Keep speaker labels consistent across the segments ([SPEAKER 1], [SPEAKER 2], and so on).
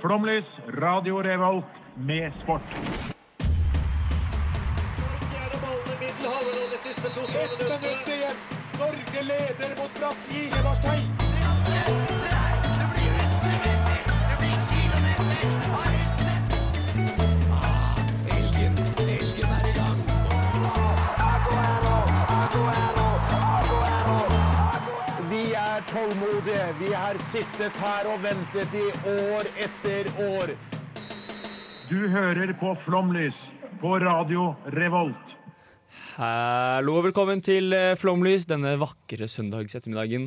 [SPEAKER 1] Flomlys, Radio Revolt med sport.
[SPEAKER 2] Ett minutt igjen. Norge leder mot Brasil. Everstein.
[SPEAKER 3] Vi er tålmodige. Vi har sittet her og ventet i år etter år.
[SPEAKER 1] Du hører på Flomlys på Radio Revolt.
[SPEAKER 4] Hallo og velkommen til eh, Flomlys denne vakre søndagsettermiddagen.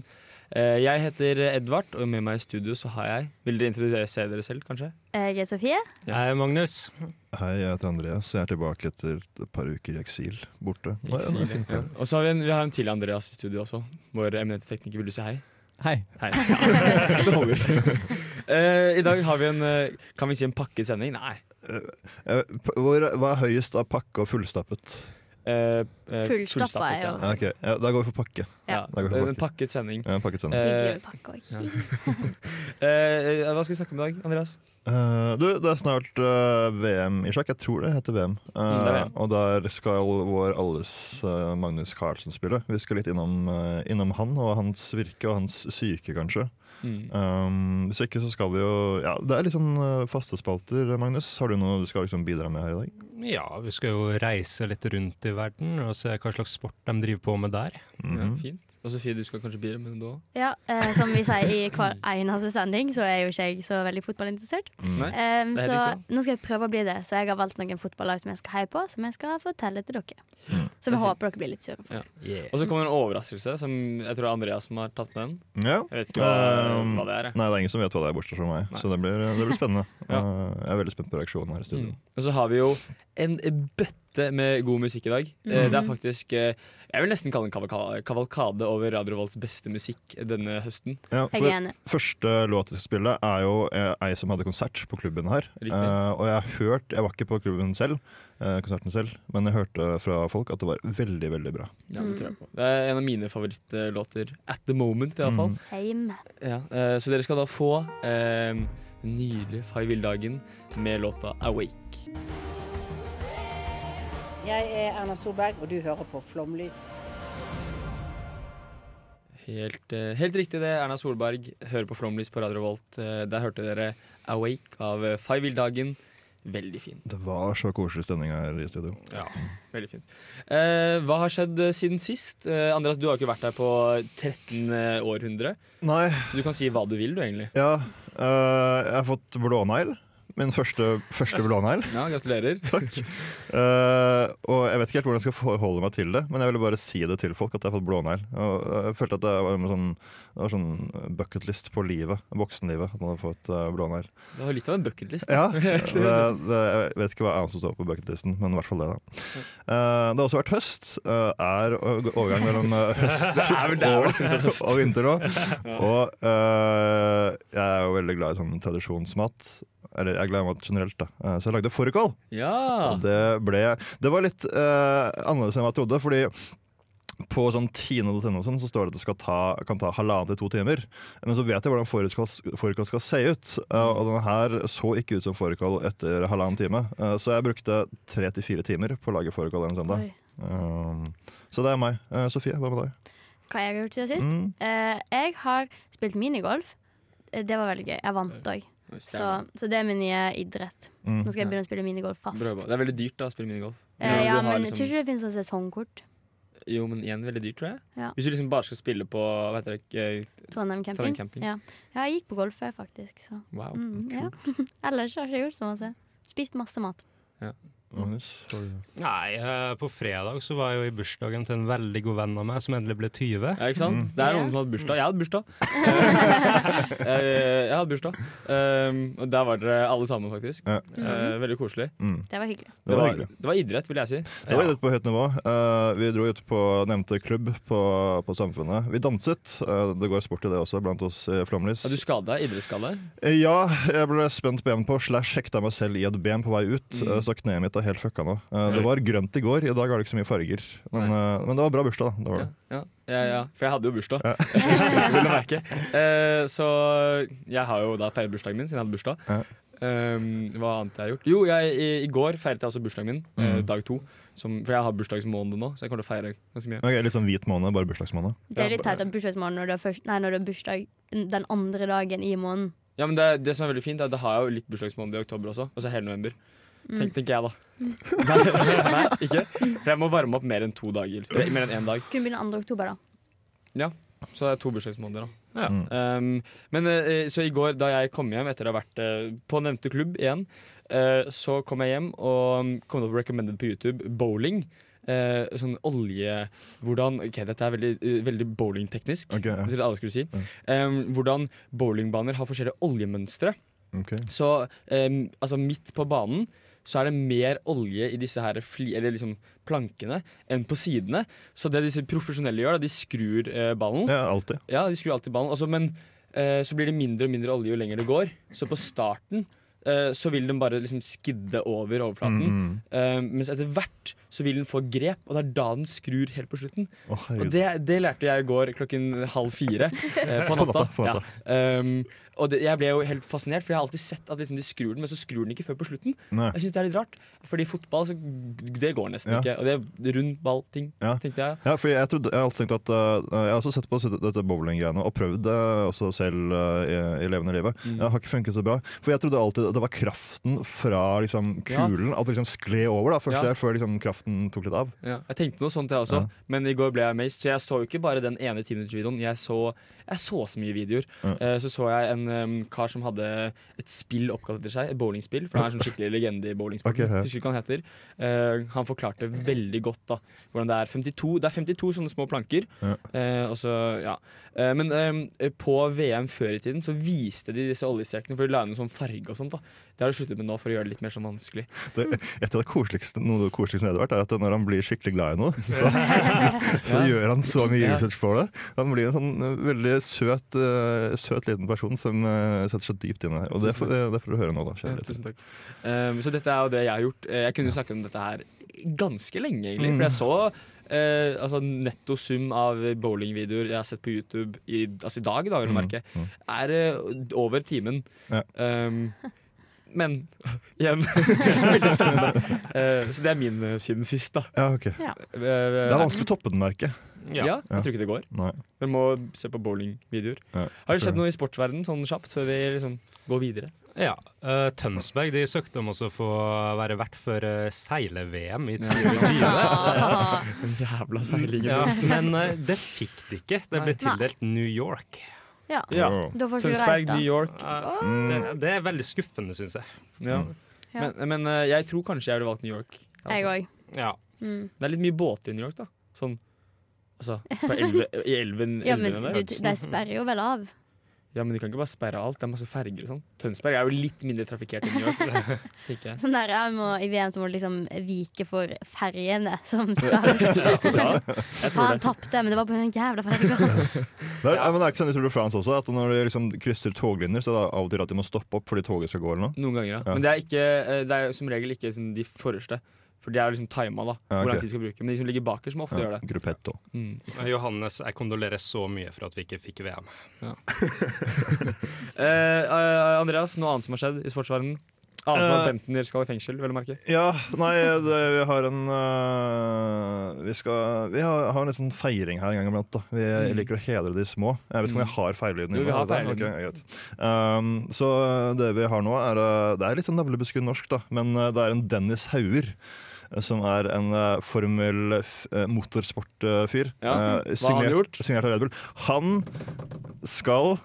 [SPEAKER 4] Eh, Jeg heter Edvard, og med meg i studio så har jeg Vil dere introdusere dere selv, kanskje?
[SPEAKER 5] Jeg er Sofie.
[SPEAKER 4] Jeg er Magnus.
[SPEAKER 6] Hei, jeg heter Andreas. Jeg er tilbake etter et par uker i eksil borte.
[SPEAKER 4] Ja. Og så har vi, en, vi har en til Andreas i studio også. Vår eminente tekniker. Vil du si hei?
[SPEAKER 7] Hei.
[SPEAKER 4] Hei. Ja, det holder. Eh, I dag har vi en eh, Kan vi si en pakket sending? Nei.
[SPEAKER 6] Eh, p- Hvor, hva er høyest av pakke og fullstappet?
[SPEAKER 4] Eh, eh,
[SPEAKER 5] Fullstappa er
[SPEAKER 4] ja.
[SPEAKER 5] jo-
[SPEAKER 6] Ja, Ok, ja, Da går vi for pakke.
[SPEAKER 4] Ja.
[SPEAKER 6] Da går vi for
[SPEAKER 4] En pakket sending.
[SPEAKER 6] Ja, pakket sammen.
[SPEAKER 5] Hyggelig
[SPEAKER 4] Eh,
[SPEAKER 5] med pakke og
[SPEAKER 4] ja. eh, hva skal vi snakke om i dag, Andreas?
[SPEAKER 6] Eh, du, det er snart eh, VM i sjakk. Jeg tror det heter VM. Eh,
[SPEAKER 4] Mm, det er VM.
[SPEAKER 6] Og der skal vår alles eh, Magnus Carlsen spille. Vi skal litt innom, eh, innom han og hans virke og hans syke, kanskje.
[SPEAKER 4] Mm.
[SPEAKER 6] Um, hvis ikke så skal vi jo Ja, det er litt sånn eh, faste spalter, Magnus. Har du noe du skal liksom bidra med her i dag?
[SPEAKER 8] Ja, vi skal jo reise litt rundt i verden og se hva slags sport de driver på med der.
[SPEAKER 4] Ja,
[SPEAKER 6] Mhm.
[SPEAKER 4] fint. Og Sofie, du skal kanskje bidra med noe?
[SPEAKER 5] Ja, eh, som vi sier i hver eneste sending, så er jo ikke jeg så veldig fotballinteressert.
[SPEAKER 4] Nei?
[SPEAKER 5] Em,
[SPEAKER 4] Det er
[SPEAKER 5] så
[SPEAKER 4] riktig,
[SPEAKER 5] nå skal jeg prøve å bli det, så jeg har valgt noen fotballag som jeg skal heie på, som jeg skal fortelle til dere. Så
[SPEAKER 4] Mm. Det er
[SPEAKER 5] vi
[SPEAKER 4] fint.
[SPEAKER 5] håper dere blir litt sure for.
[SPEAKER 4] Ja. Og så kommer en overraskelse, som jeg tror det er Andreas som har tatt med den.
[SPEAKER 6] Ja.
[SPEAKER 4] Jeg vet ikke hva,
[SPEAKER 6] Um,
[SPEAKER 4] hva det er. jeg.
[SPEAKER 6] Nei, det er ingen som vet hva det er, bortsett fra meg. Så det blir, det blir spennende.
[SPEAKER 4] Ja.
[SPEAKER 6] Uh, Jeg er veldig spent på reaksjonen her i studio.
[SPEAKER 4] Mm. Og så har vi jo en bøtte med god musikk i dag. Eh, Det er faktisk eh, Jeg vil nesten kalle det en kavalka- kavalkade over Radio Volts beste musikk denne høsten.
[SPEAKER 6] Ja,
[SPEAKER 5] Jeg er
[SPEAKER 6] for
[SPEAKER 5] enig.
[SPEAKER 6] første låt vi skal spille, er jo eh, ei som hadde konsert på klubben her.
[SPEAKER 4] Riktig.
[SPEAKER 6] Eh, og jeg har hørt Jeg var ikke på klubben selv, eh, konserten selv, men jeg hørte fra folk at det var veldig, veldig bra.
[SPEAKER 4] Ja, det, tror jeg på. det er en av mine favorittlåter at the moment, iallfall.
[SPEAKER 5] Same.
[SPEAKER 4] Ja, eh, så dere skal da få eh, den nydelige Fay Villdagen med låta 'Awake'.
[SPEAKER 9] Jeg er Erna Solberg, og du hører på Flomlys.
[SPEAKER 4] Helt, eh, helt riktig det, Erna Solberg. Hører på Flomlys på Radio Volt. Eh, Der hørte dere 'Awake' av eh, Fay Villdagen. Veldig fin.
[SPEAKER 6] Det var så koselig stemning her i studio.
[SPEAKER 4] Veldig fint. Eh, hva har skjedd eh, siden sist? Eh, Andreas, du har ikke vært her på 13 eh, århundre.
[SPEAKER 6] Nei,
[SPEAKER 4] Så du kan si hva du vil, du, egentlig.
[SPEAKER 6] ja eh, Jeg har fått blånegl. Min første, første blånegl.
[SPEAKER 4] Ja, gratulerer.
[SPEAKER 6] Takk. Eh, og jeg vet ikke helt hvordan jeg skal forholde meg til det, men jeg ville bare si det til folk at jeg har fått blånegl. Og eh, jeg følte at det var en sånn, det var sånn bucketlist på livet, voksenlivet, at man hadde fått eh, blånegl.
[SPEAKER 4] Det var litt av en bucketlist.
[SPEAKER 6] Ja, det, det, jeg vet ikke hva annet som står på bucketlisten, men i hvert fall det, da. Eh, det har også vært høst. eh, er overgang mellom eh, høst
[SPEAKER 4] vel det, det er vel
[SPEAKER 6] og,
[SPEAKER 4] høst.
[SPEAKER 6] og vinter nå. Og eh, jeg er jo veldig glad i sånn tradisjonsmat. Eller jeg er glad i mat generelt, da. Eh, så jeg lagde fårikål.
[SPEAKER 4] Ja.
[SPEAKER 6] Og det ble Det var litt eh, annerledes enn hva jeg trodde, fordi på sånn tine.no og sånn, så står det at det skal ta, kan ta halvannen til to timer. Men så vet jeg hvordan fårikål skal, fårikål skal se ut, eh, og denne her så ikke ut som fårikål etter halvannen time. Eh, så jeg brukte tre til fire timer på å lage fårikål en søndag.
[SPEAKER 5] Oi.
[SPEAKER 6] Um, så det er meg. Eh, Sofie, hva med deg?
[SPEAKER 5] Hva jeg har gjort siden sist?
[SPEAKER 6] Mm.
[SPEAKER 5] Eh, jeg har spilt minigolf. Eh, Det var veldig gøy. Jeg vant òg. Så, så det er min nye idrett.
[SPEAKER 6] Mm.
[SPEAKER 5] Nå skal jeg begynne å spille minigolf fast.
[SPEAKER 4] Bra jobba. Det er veldig dyrt da, å spille minigolf.
[SPEAKER 5] Eh, ja,
[SPEAKER 4] Du har
[SPEAKER 5] men
[SPEAKER 4] liksom-
[SPEAKER 5] tror ikke det finnes sånn sesongkort.
[SPEAKER 4] Jo, men igjen veldig dyrt, tror jeg.
[SPEAKER 5] Ja.
[SPEAKER 4] Hvis du liksom bare skal spille på hva heter det, eh,
[SPEAKER 5] Trondheim camping.
[SPEAKER 4] Trondheim camping.
[SPEAKER 5] Ja. ja, jeg gikk på golf jeg, faktisk, så
[SPEAKER 4] Wow.
[SPEAKER 5] mm, ja. Ellers har jeg ikke gjort så masse. Spist masse mat.
[SPEAKER 6] Magnus? har du-
[SPEAKER 8] Nei, eh, på fredag så var jeg jo i bursdagen til en veldig god venn av meg som endelig ble 20.
[SPEAKER 4] Ja, ikke
[SPEAKER 6] Mm.
[SPEAKER 4] sant? Det er noen som har hatt bursdag. Jeg hadde bursdag. Eh, jeg hadde bursdag. Um, og der var dere alle sammen, faktisk.
[SPEAKER 6] Ja.
[SPEAKER 4] Eh, veldig koselig.
[SPEAKER 6] Mm.
[SPEAKER 5] Det var hyggelig.
[SPEAKER 6] Det var hyggelig.
[SPEAKER 4] det var idrett, vil jeg si.
[SPEAKER 6] Det var idrett på høyt nivå. Eh, vi dro ut på nevnte klubb på, på Samfunnet. Vi danset. Eh, det går sport i det også, blant oss i Flåmlys.
[SPEAKER 4] Ja, du skada deg? Idrettsskade? Mm.
[SPEAKER 6] Eh, Ja, jeg ble spent ben på slash hekta meg selv i et ben på vei ut. eh, Så kneet mitt er er helt fucka nå. Eh, det var grønt i går, i dag er det ikke så mye farger. Men, eh, men det var bra bursdag, da. Det var
[SPEAKER 4] Ja,
[SPEAKER 6] det.
[SPEAKER 4] ja, ja, ja, for jeg hadde jo bursdag. Vil du merke. Eh, så jeg har jo da feiret bursdagen min, siden jeg hadde bursdag.
[SPEAKER 6] Ja.
[SPEAKER 4] Um, hva annet jeg har gjort? Jo, jeg, i, i går feiret jeg også bursdagen min, eh, dag to. Som, for jeg har bursdagsmåned nå, så jeg kommer til å feire ganske mye.
[SPEAKER 6] Ok, litt sånn hvit måned, bare bursdagsmåned.
[SPEAKER 5] Det er litt teit at bursdagsmåneden når du har først- nei, når du har bursdag den andre dagen i måneden.
[SPEAKER 4] Ja, men det, det som er veldig fint, er at det har jeg jo litt bursdagsmåned i oktober også. Og så hele november. Tenk, tenker jeg, da. Nei, nei, ikke. For jeg må varme opp mer enn to dager. Eller Mer enn én dag.
[SPEAKER 5] Kunne begynne 2. oktober, da.
[SPEAKER 4] Så det er to bursdagsmåneder, da.
[SPEAKER 6] Mm.
[SPEAKER 4] Um, men eh, så i går, da jeg kom hjem etter å ha vært eh, på nevnte klubb igjen, eh, så kom jeg hjem og um, kom opp recommended på YouTube bowling. Eh, sånn olje Hvordan Ok, dette er veldig, eh, veldig bowlingteknisk.
[SPEAKER 6] Ok, ja.
[SPEAKER 4] Det trodde alle skulle si. Um, hvordan bowlingbaner har forskjellige oljemønstre.
[SPEAKER 6] Ok.
[SPEAKER 4] Så em, altså midt på banen så er det mer olje i disse her fli, eller liksom plankene enn på sidene. Så det disse profesjonelle gjør, da, de skrur eh, ballen.
[SPEAKER 6] Ja, alltid.
[SPEAKER 4] Ja, de skrur alltid ballen. Altså, men eh, så blir det mindre og mindre olje jo lenger det går. Så på starten eh, så vil den bare liksom skidde over overflaten.
[SPEAKER 6] Mm.
[SPEAKER 4] Eh, mens etter hvert så vil den få grep, og det er da den skrur helt på slutten.
[SPEAKER 6] Å, herregud.
[SPEAKER 4] Og det, det lærte jeg i går klokken halv fire eh, på natta.
[SPEAKER 6] på natta.
[SPEAKER 4] Ja. Um, og det, jeg ble jo helt fascinert, for jeg har alltid sett at liksom, de skrur den, men så skrur den ikke før på slutten.
[SPEAKER 6] Nei.
[SPEAKER 4] Jeg synes det er litt rart, fordi fotball, så, det går nesten
[SPEAKER 6] Ja.
[SPEAKER 4] ikke. Og det er rund ball-ting,
[SPEAKER 6] Ja.
[SPEAKER 4] tenkte jeg.
[SPEAKER 6] Ja, fordi jeg, trodde, jeg har alltid tenkt at eh, Jeg har også sett på dette bowling-greiene og prøvd det også selv eh, i, i levende livet.
[SPEAKER 4] Mm.
[SPEAKER 6] Det har ikke funket så bra. For jeg trodde alltid at det var kraften fra liksom,
[SPEAKER 4] Ja.
[SPEAKER 6] kulen. At det liksom skled over da, først
[SPEAKER 4] Ja.
[SPEAKER 6] der, før liksom, kraften tok litt av.
[SPEAKER 4] Ja. Jeg tenkte noe sånt jeg også, men i går ble jeg amazed. Så jeg så jo ikke bare den ene timinuttsvideoen. Jeg så jeg så så mye videoer. Eh, så så jeg en em, kar som hadde et spill oppkalt etter seg, et bowlingspill. For han er en sånn skikkelig legende i bowlingspill.
[SPEAKER 6] Ok, ja.
[SPEAKER 4] Husker ikke hva han heter. Eh, han forklarte veldig godt da hvordan det er 52 Det er 52 sånne små planker.
[SPEAKER 6] Ja.
[SPEAKER 4] Eh, og så, ja. Eh, men em, på VM før i tiden så viste de disse oljestrekene, for de la inn noe sånn farge og sånt. da Det har de sluttet med nå for å gjøre det litt mer sånn vanskelig.
[SPEAKER 6] Det, et av det koseligste, noe av det koseligste jeg har vært, er at når han blir skikkelig glad i noe, så, så
[SPEAKER 4] Ja.
[SPEAKER 6] gjør han så mye
[SPEAKER 4] Ja.
[SPEAKER 6] research på det. Han blir en sånn eh, veldig søt, eh, søt liten person som eh, setter seg dypt inn i det. Og det får, eh, det får du høre nå, da.
[SPEAKER 4] Ja,
[SPEAKER 6] kjære lytter.
[SPEAKER 4] tusen takk. Um, så dette er jo det jeg har gjort. Eh, Jeg kunne snakket om dette her ganske lenge, egentlig. For jeg så eh, altså netto sum av bowlingvideoer jeg har sett på YouTube i, altså i dag, da, vil du merke, er eh, over timen.
[SPEAKER 6] Ja.
[SPEAKER 4] Um, men igjen veldig spennende. Eh, så det er min eh, siden sist, da. Eh,
[SPEAKER 6] Ja, ok. Det er vanskelig å toppe den, merker jeg.
[SPEAKER 4] ja. ja, jeg tror ikke det går.
[SPEAKER 6] Nei.
[SPEAKER 4] Vi må se på bowlingvideoer.
[SPEAKER 6] Ja,
[SPEAKER 4] Har det
[SPEAKER 6] tror
[SPEAKER 4] skjedd noe i sportsverdenen sånn kjapt før vi liksom går videre?
[SPEAKER 8] Ja. eh, Tønsberg de søkte om også å få være vert for eh, seile-VM i 2020.
[SPEAKER 5] Ah.
[SPEAKER 4] Den jævla seilingen.
[SPEAKER 8] Ja, men eh, det fikk de ikke. Det
[SPEAKER 5] Nei.
[SPEAKER 8] ble tildelt New York.
[SPEAKER 5] Ja.
[SPEAKER 4] Ja.
[SPEAKER 5] Da får ikke du
[SPEAKER 4] Tønsberg,
[SPEAKER 5] reist, da.
[SPEAKER 4] New York.
[SPEAKER 8] Eh, Det, det er veldig skuffende, syns jeg.
[SPEAKER 4] Ja.
[SPEAKER 5] Ja.
[SPEAKER 4] Mm. Men, men eh, jeg tror kanskje jeg ville valgt New York. Altså,
[SPEAKER 5] Jeg òg.
[SPEAKER 8] Ja.
[SPEAKER 5] Mm.
[SPEAKER 4] Det er litt mye båter i New York, da. Sånn altså, på elve, I elven,
[SPEAKER 5] Ja, men
[SPEAKER 4] elvene
[SPEAKER 5] du,
[SPEAKER 4] der.
[SPEAKER 5] de sperrer jo vel av.
[SPEAKER 4] Ja, men de kan ikke bare sperre alt. Det er masse ferger og sånn. Tønsberg er jo litt mindre trafikkert enn New York. tenker jeg.
[SPEAKER 5] Sånn der, jeg må, I VM så må du liksom vike for ferjene som skal
[SPEAKER 4] Ja, jeg tror
[SPEAKER 5] Faen,
[SPEAKER 4] det.
[SPEAKER 5] tapte, men det var på den jævla ferga.
[SPEAKER 6] Det er, ja. men det er ikke sånn i Tour de France også, at når de liksom krysser toglinjer, så er det av og til at de må stoppe opp fordi toget skal gå eller noe.
[SPEAKER 4] Noen ganger, ja.
[SPEAKER 6] Ja.
[SPEAKER 4] Men det er, ikke, eh, det er jo som regel ikke sånn, de forreste. For de er jo liksom tima, da.
[SPEAKER 6] Ja, ok.
[SPEAKER 4] Hvor lang tid de skal bruke. Men de som ligger bakerst, må ofte
[SPEAKER 6] Ja,
[SPEAKER 4] gjøre det.
[SPEAKER 6] gruppetto.
[SPEAKER 4] Mm.
[SPEAKER 8] Eh, Johannes, jeg kondolerer så mye for at vi ikke fikk VM.
[SPEAKER 4] Eh, eh, Andreas, noe annet som har skjedd i sportsverdenen? Annet enn at
[SPEAKER 6] Eh.
[SPEAKER 4] Bentner skal i fengsel, vel å merke.
[SPEAKER 6] Ja, nei, det, vi har en øh, Vi skal Vi har, har en litt sånn feiring her en gang iblant. da Vi liker å hedre de små. Jeg vet ikke om jeg har feillyden.
[SPEAKER 4] Jo, Mm. vi har feillyden.
[SPEAKER 6] um, Så det vi har nå, er øh, Det er litt sånn navlebeskudd norsk, da. Men øh, det er en Dennis Hauger. øh, Som er en øh, formel f- øh, motorsportfyr.
[SPEAKER 4] Ja,
[SPEAKER 6] øh,
[SPEAKER 4] hva har han gjort?
[SPEAKER 6] signert av Red Bull. Han skal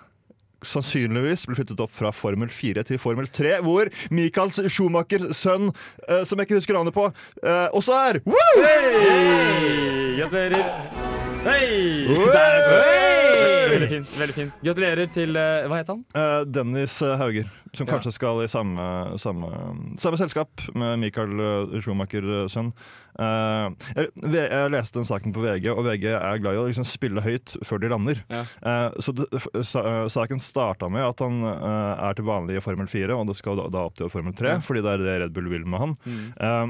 [SPEAKER 6] sannsynligvis blir flyttet opp fra Formel 4 til Formel 3, hvor Michaels Schumachers sønn, eh, som jeg ikke husker navnet på, eh, også er! Woo!
[SPEAKER 4] Hei! Gratulerer. Hei!
[SPEAKER 6] Hey!
[SPEAKER 4] Veldig fint. veldig fint Gratulerer til eh, Hva het han?
[SPEAKER 6] Eh, Dennis eh, Hauger, som
[SPEAKER 4] Ja.
[SPEAKER 6] kanskje skal i samme, samme, samme selskap med Michael eh, Schumacher eh, sønn. Eh, jeg, V- jeg leste den saken på VG, og VG er glad i å liksom spille høyt før de lander.
[SPEAKER 4] Ja.
[SPEAKER 6] Eh, så det, f- sa, eh, saken starta med at han eh, er til vanlig i Formel 4, og det skal da, da opp til Formel 3, fordi det er det Red Bull vil med han.
[SPEAKER 4] Mm.
[SPEAKER 6] Eh,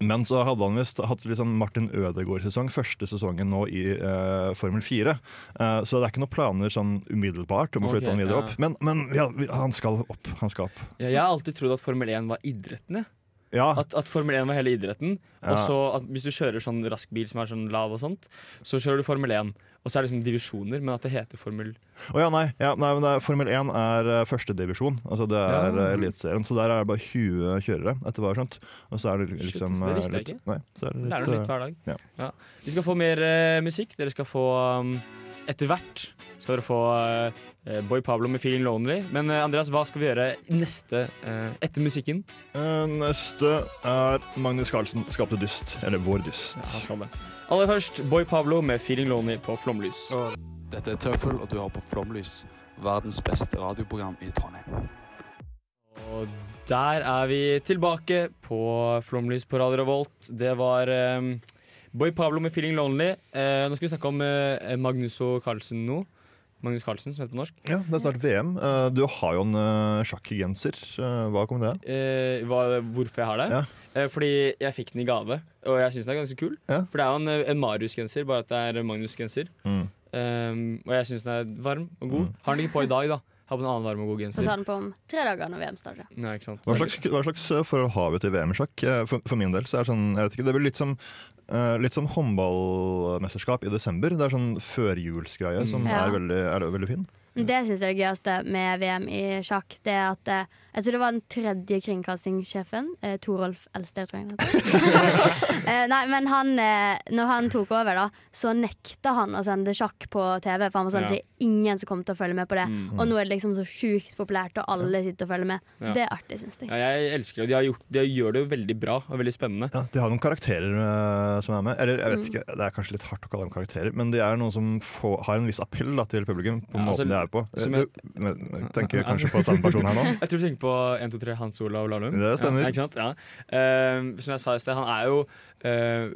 [SPEAKER 6] men så hadde han visst hatt litt sånn Martin Ødegaard-sesong, første sesongen nå i eh, Formel 4. Eh, så det er ikke noen planer sånn umiddelbart om å
[SPEAKER 4] Ok,
[SPEAKER 6] flytte han videre
[SPEAKER 4] ja.
[SPEAKER 6] opp. Men, men ja, vi- han skal opp. Han skal opp.
[SPEAKER 4] Ja, jeg har alltid trodd at Formel 1 var idretten. jeg.
[SPEAKER 6] Ja,
[SPEAKER 4] At, at Formel 1 var hele idretten.
[SPEAKER 6] Ja.
[SPEAKER 4] Og så at hvis du kjører sånn rask bil som er sånn lav og sånt, så kjører du Formel 1. Og så er det liksom divisjoner, men at det heter Formel
[SPEAKER 6] Å ja, nei, ja, nei men det er, Formel 1 er eh, førstedivisjon. Altså det er
[SPEAKER 4] Ja.
[SPEAKER 6] eh, Eliteserien. Så der er det bare 20 kjørere, etter hva jeg har skjønt. Og så er det
[SPEAKER 4] Shit,
[SPEAKER 6] liksom
[SPEAKER 4] det
[SPEAKER 6] eh,
[SPEAKER 4] visste jeg
[SPEAKER 6] litt,
[SPEAKER 4] ikke.
[SPEAKER 6] Nei, så er det
[SPEAKER 4] Lærer
[SPEAKER 6] litt,
[SPEAKER 4] noe nytt
[SPEAKER 6] eh,
[SPEAKER 4] hver dag.
[SPEAKER 6] ja.
[SPEAKER 4] Ja. Vi skal få mer eh, musikk. Dere skal få um, Etter hvert skal dere få eh, Boy Pablo med 'Feeling Lonely'. Men eh, Andreas, hva skal vi gjøre neste eh, etter musikken?
[SPEAKER 6] Eh, Neste er Magnus Carlsen skapte dyst. Eller vår dyst.
[SPEAKER 4] Han skal det. Aller først Boy Pablo med 'Feeling Lonely' på Flomlys.
[SPEAKER 7] Dette er Tøffel, og du hører på Flomlys, verdens beste radioprogram i Trondheim.
[SPEAKER 4] Og der er vi tilbake på Flomlys på Radio Revolt. Det var eh, Boy Pablo med 'Feeling Lonely'. Eh, nå skal vi snakke om eh, Magnus og Carlsen nå. Magnus Carlsen, som heter på norsk.
[SPEAKER 6] Ja, Det er snart VM. Eh, Du har jo en eh, sjakkgenser. Eh, Hva kom det av?
[SPEAKER 4] eh, hva, hvorfor jeg har det.
[SPEAKER 6] Ja.
[SPEAKER 4] Eh, fordi jeg fikk den i gave, og jeg syns den er ganske kul.
[SPEAKER 6] Ja.
[SPEAKER 4] For det er jo en, eh, en Marius-genser, bare at det er Magnus-genser.
[SPEAKER 6] Mm.
[SPEAKER 4] Um, og jeg syns den er varm og god. Har den ikke på i dag, da. Har på en annen varm og god
[SPEAKER 5] Så
[SPEAKER 4] genser.
[SPEAKER 5] tar den på om tre dager når VM starter.
[SPEAKER 4] Nei, ikke sant?
[SPEAKER 6] Hva slags, hva slags eh, forhold har vi til VM i sjakk? Eh, For, for min del så er det sånn, jeg vet ikke, det blir litt som, eh, litt som håndballmesterskap i desember. Det er sånn førjulsgreie
[SPEAKER 4] Mm.
[SPEAKER 6] som
[SPEAKER 5] Ja.
[SPEAKER 6] er, veldig, er veldig fin.
[SPEAKER 5] Det syns jeg er det gøyeste med VM i sjakk. Det er at eh, Jeg tror det var den tredje kringkastingssjefen, eh, Torolf Elster, tror jeg han heter. eh, nei, men han eh, Når han tok over, da, så nekta han å sende sjakk på TV. For han var sånn
[SPEAKER 4] Ja.
[SPEAKER 5] at det er ingen som kommer til å følge med på det.
[SPEAKER 4] Mm.
[SPEAKER 5] Og nå er det liksom så sjukt populært, og alle sitter og følger med.
[SPEAKER 4] Ja.
[SPEAKER 5] Det er artig, syns jeg.
[SPEAKER 4] Ja, jeg elsker det. De, har gjort, de gjør det jo veldig bra og veldig spennende.
[SPEAKER 6] Ja, de har noen karakterer eh, som er med. Eller jeg vet
[SPEAKER 4] Mm.
[SPEAKER 6] ikke, det er kanskje litt hardt å kalle dem karakterer, men de er noen som får, har en viss appell da, til publikum på
[SPEAKER 4] Ja, altså,
[SPEAKER 6] måten de er på.
[SPEAKER 4] som
[SPEAKER 6] Jeg, du, men- jeg tenker kanskje på samme person her nå.
[SPEAKER 4] Jeg tror du tenker på 1, 2, 3, Hans Olav Lahlum.
[SPEAKER 6] Det stemmer.
[SPEAKER 4] Ja, ikke sant? Ja. Eh, som jeg sa i sted, han er jo eh,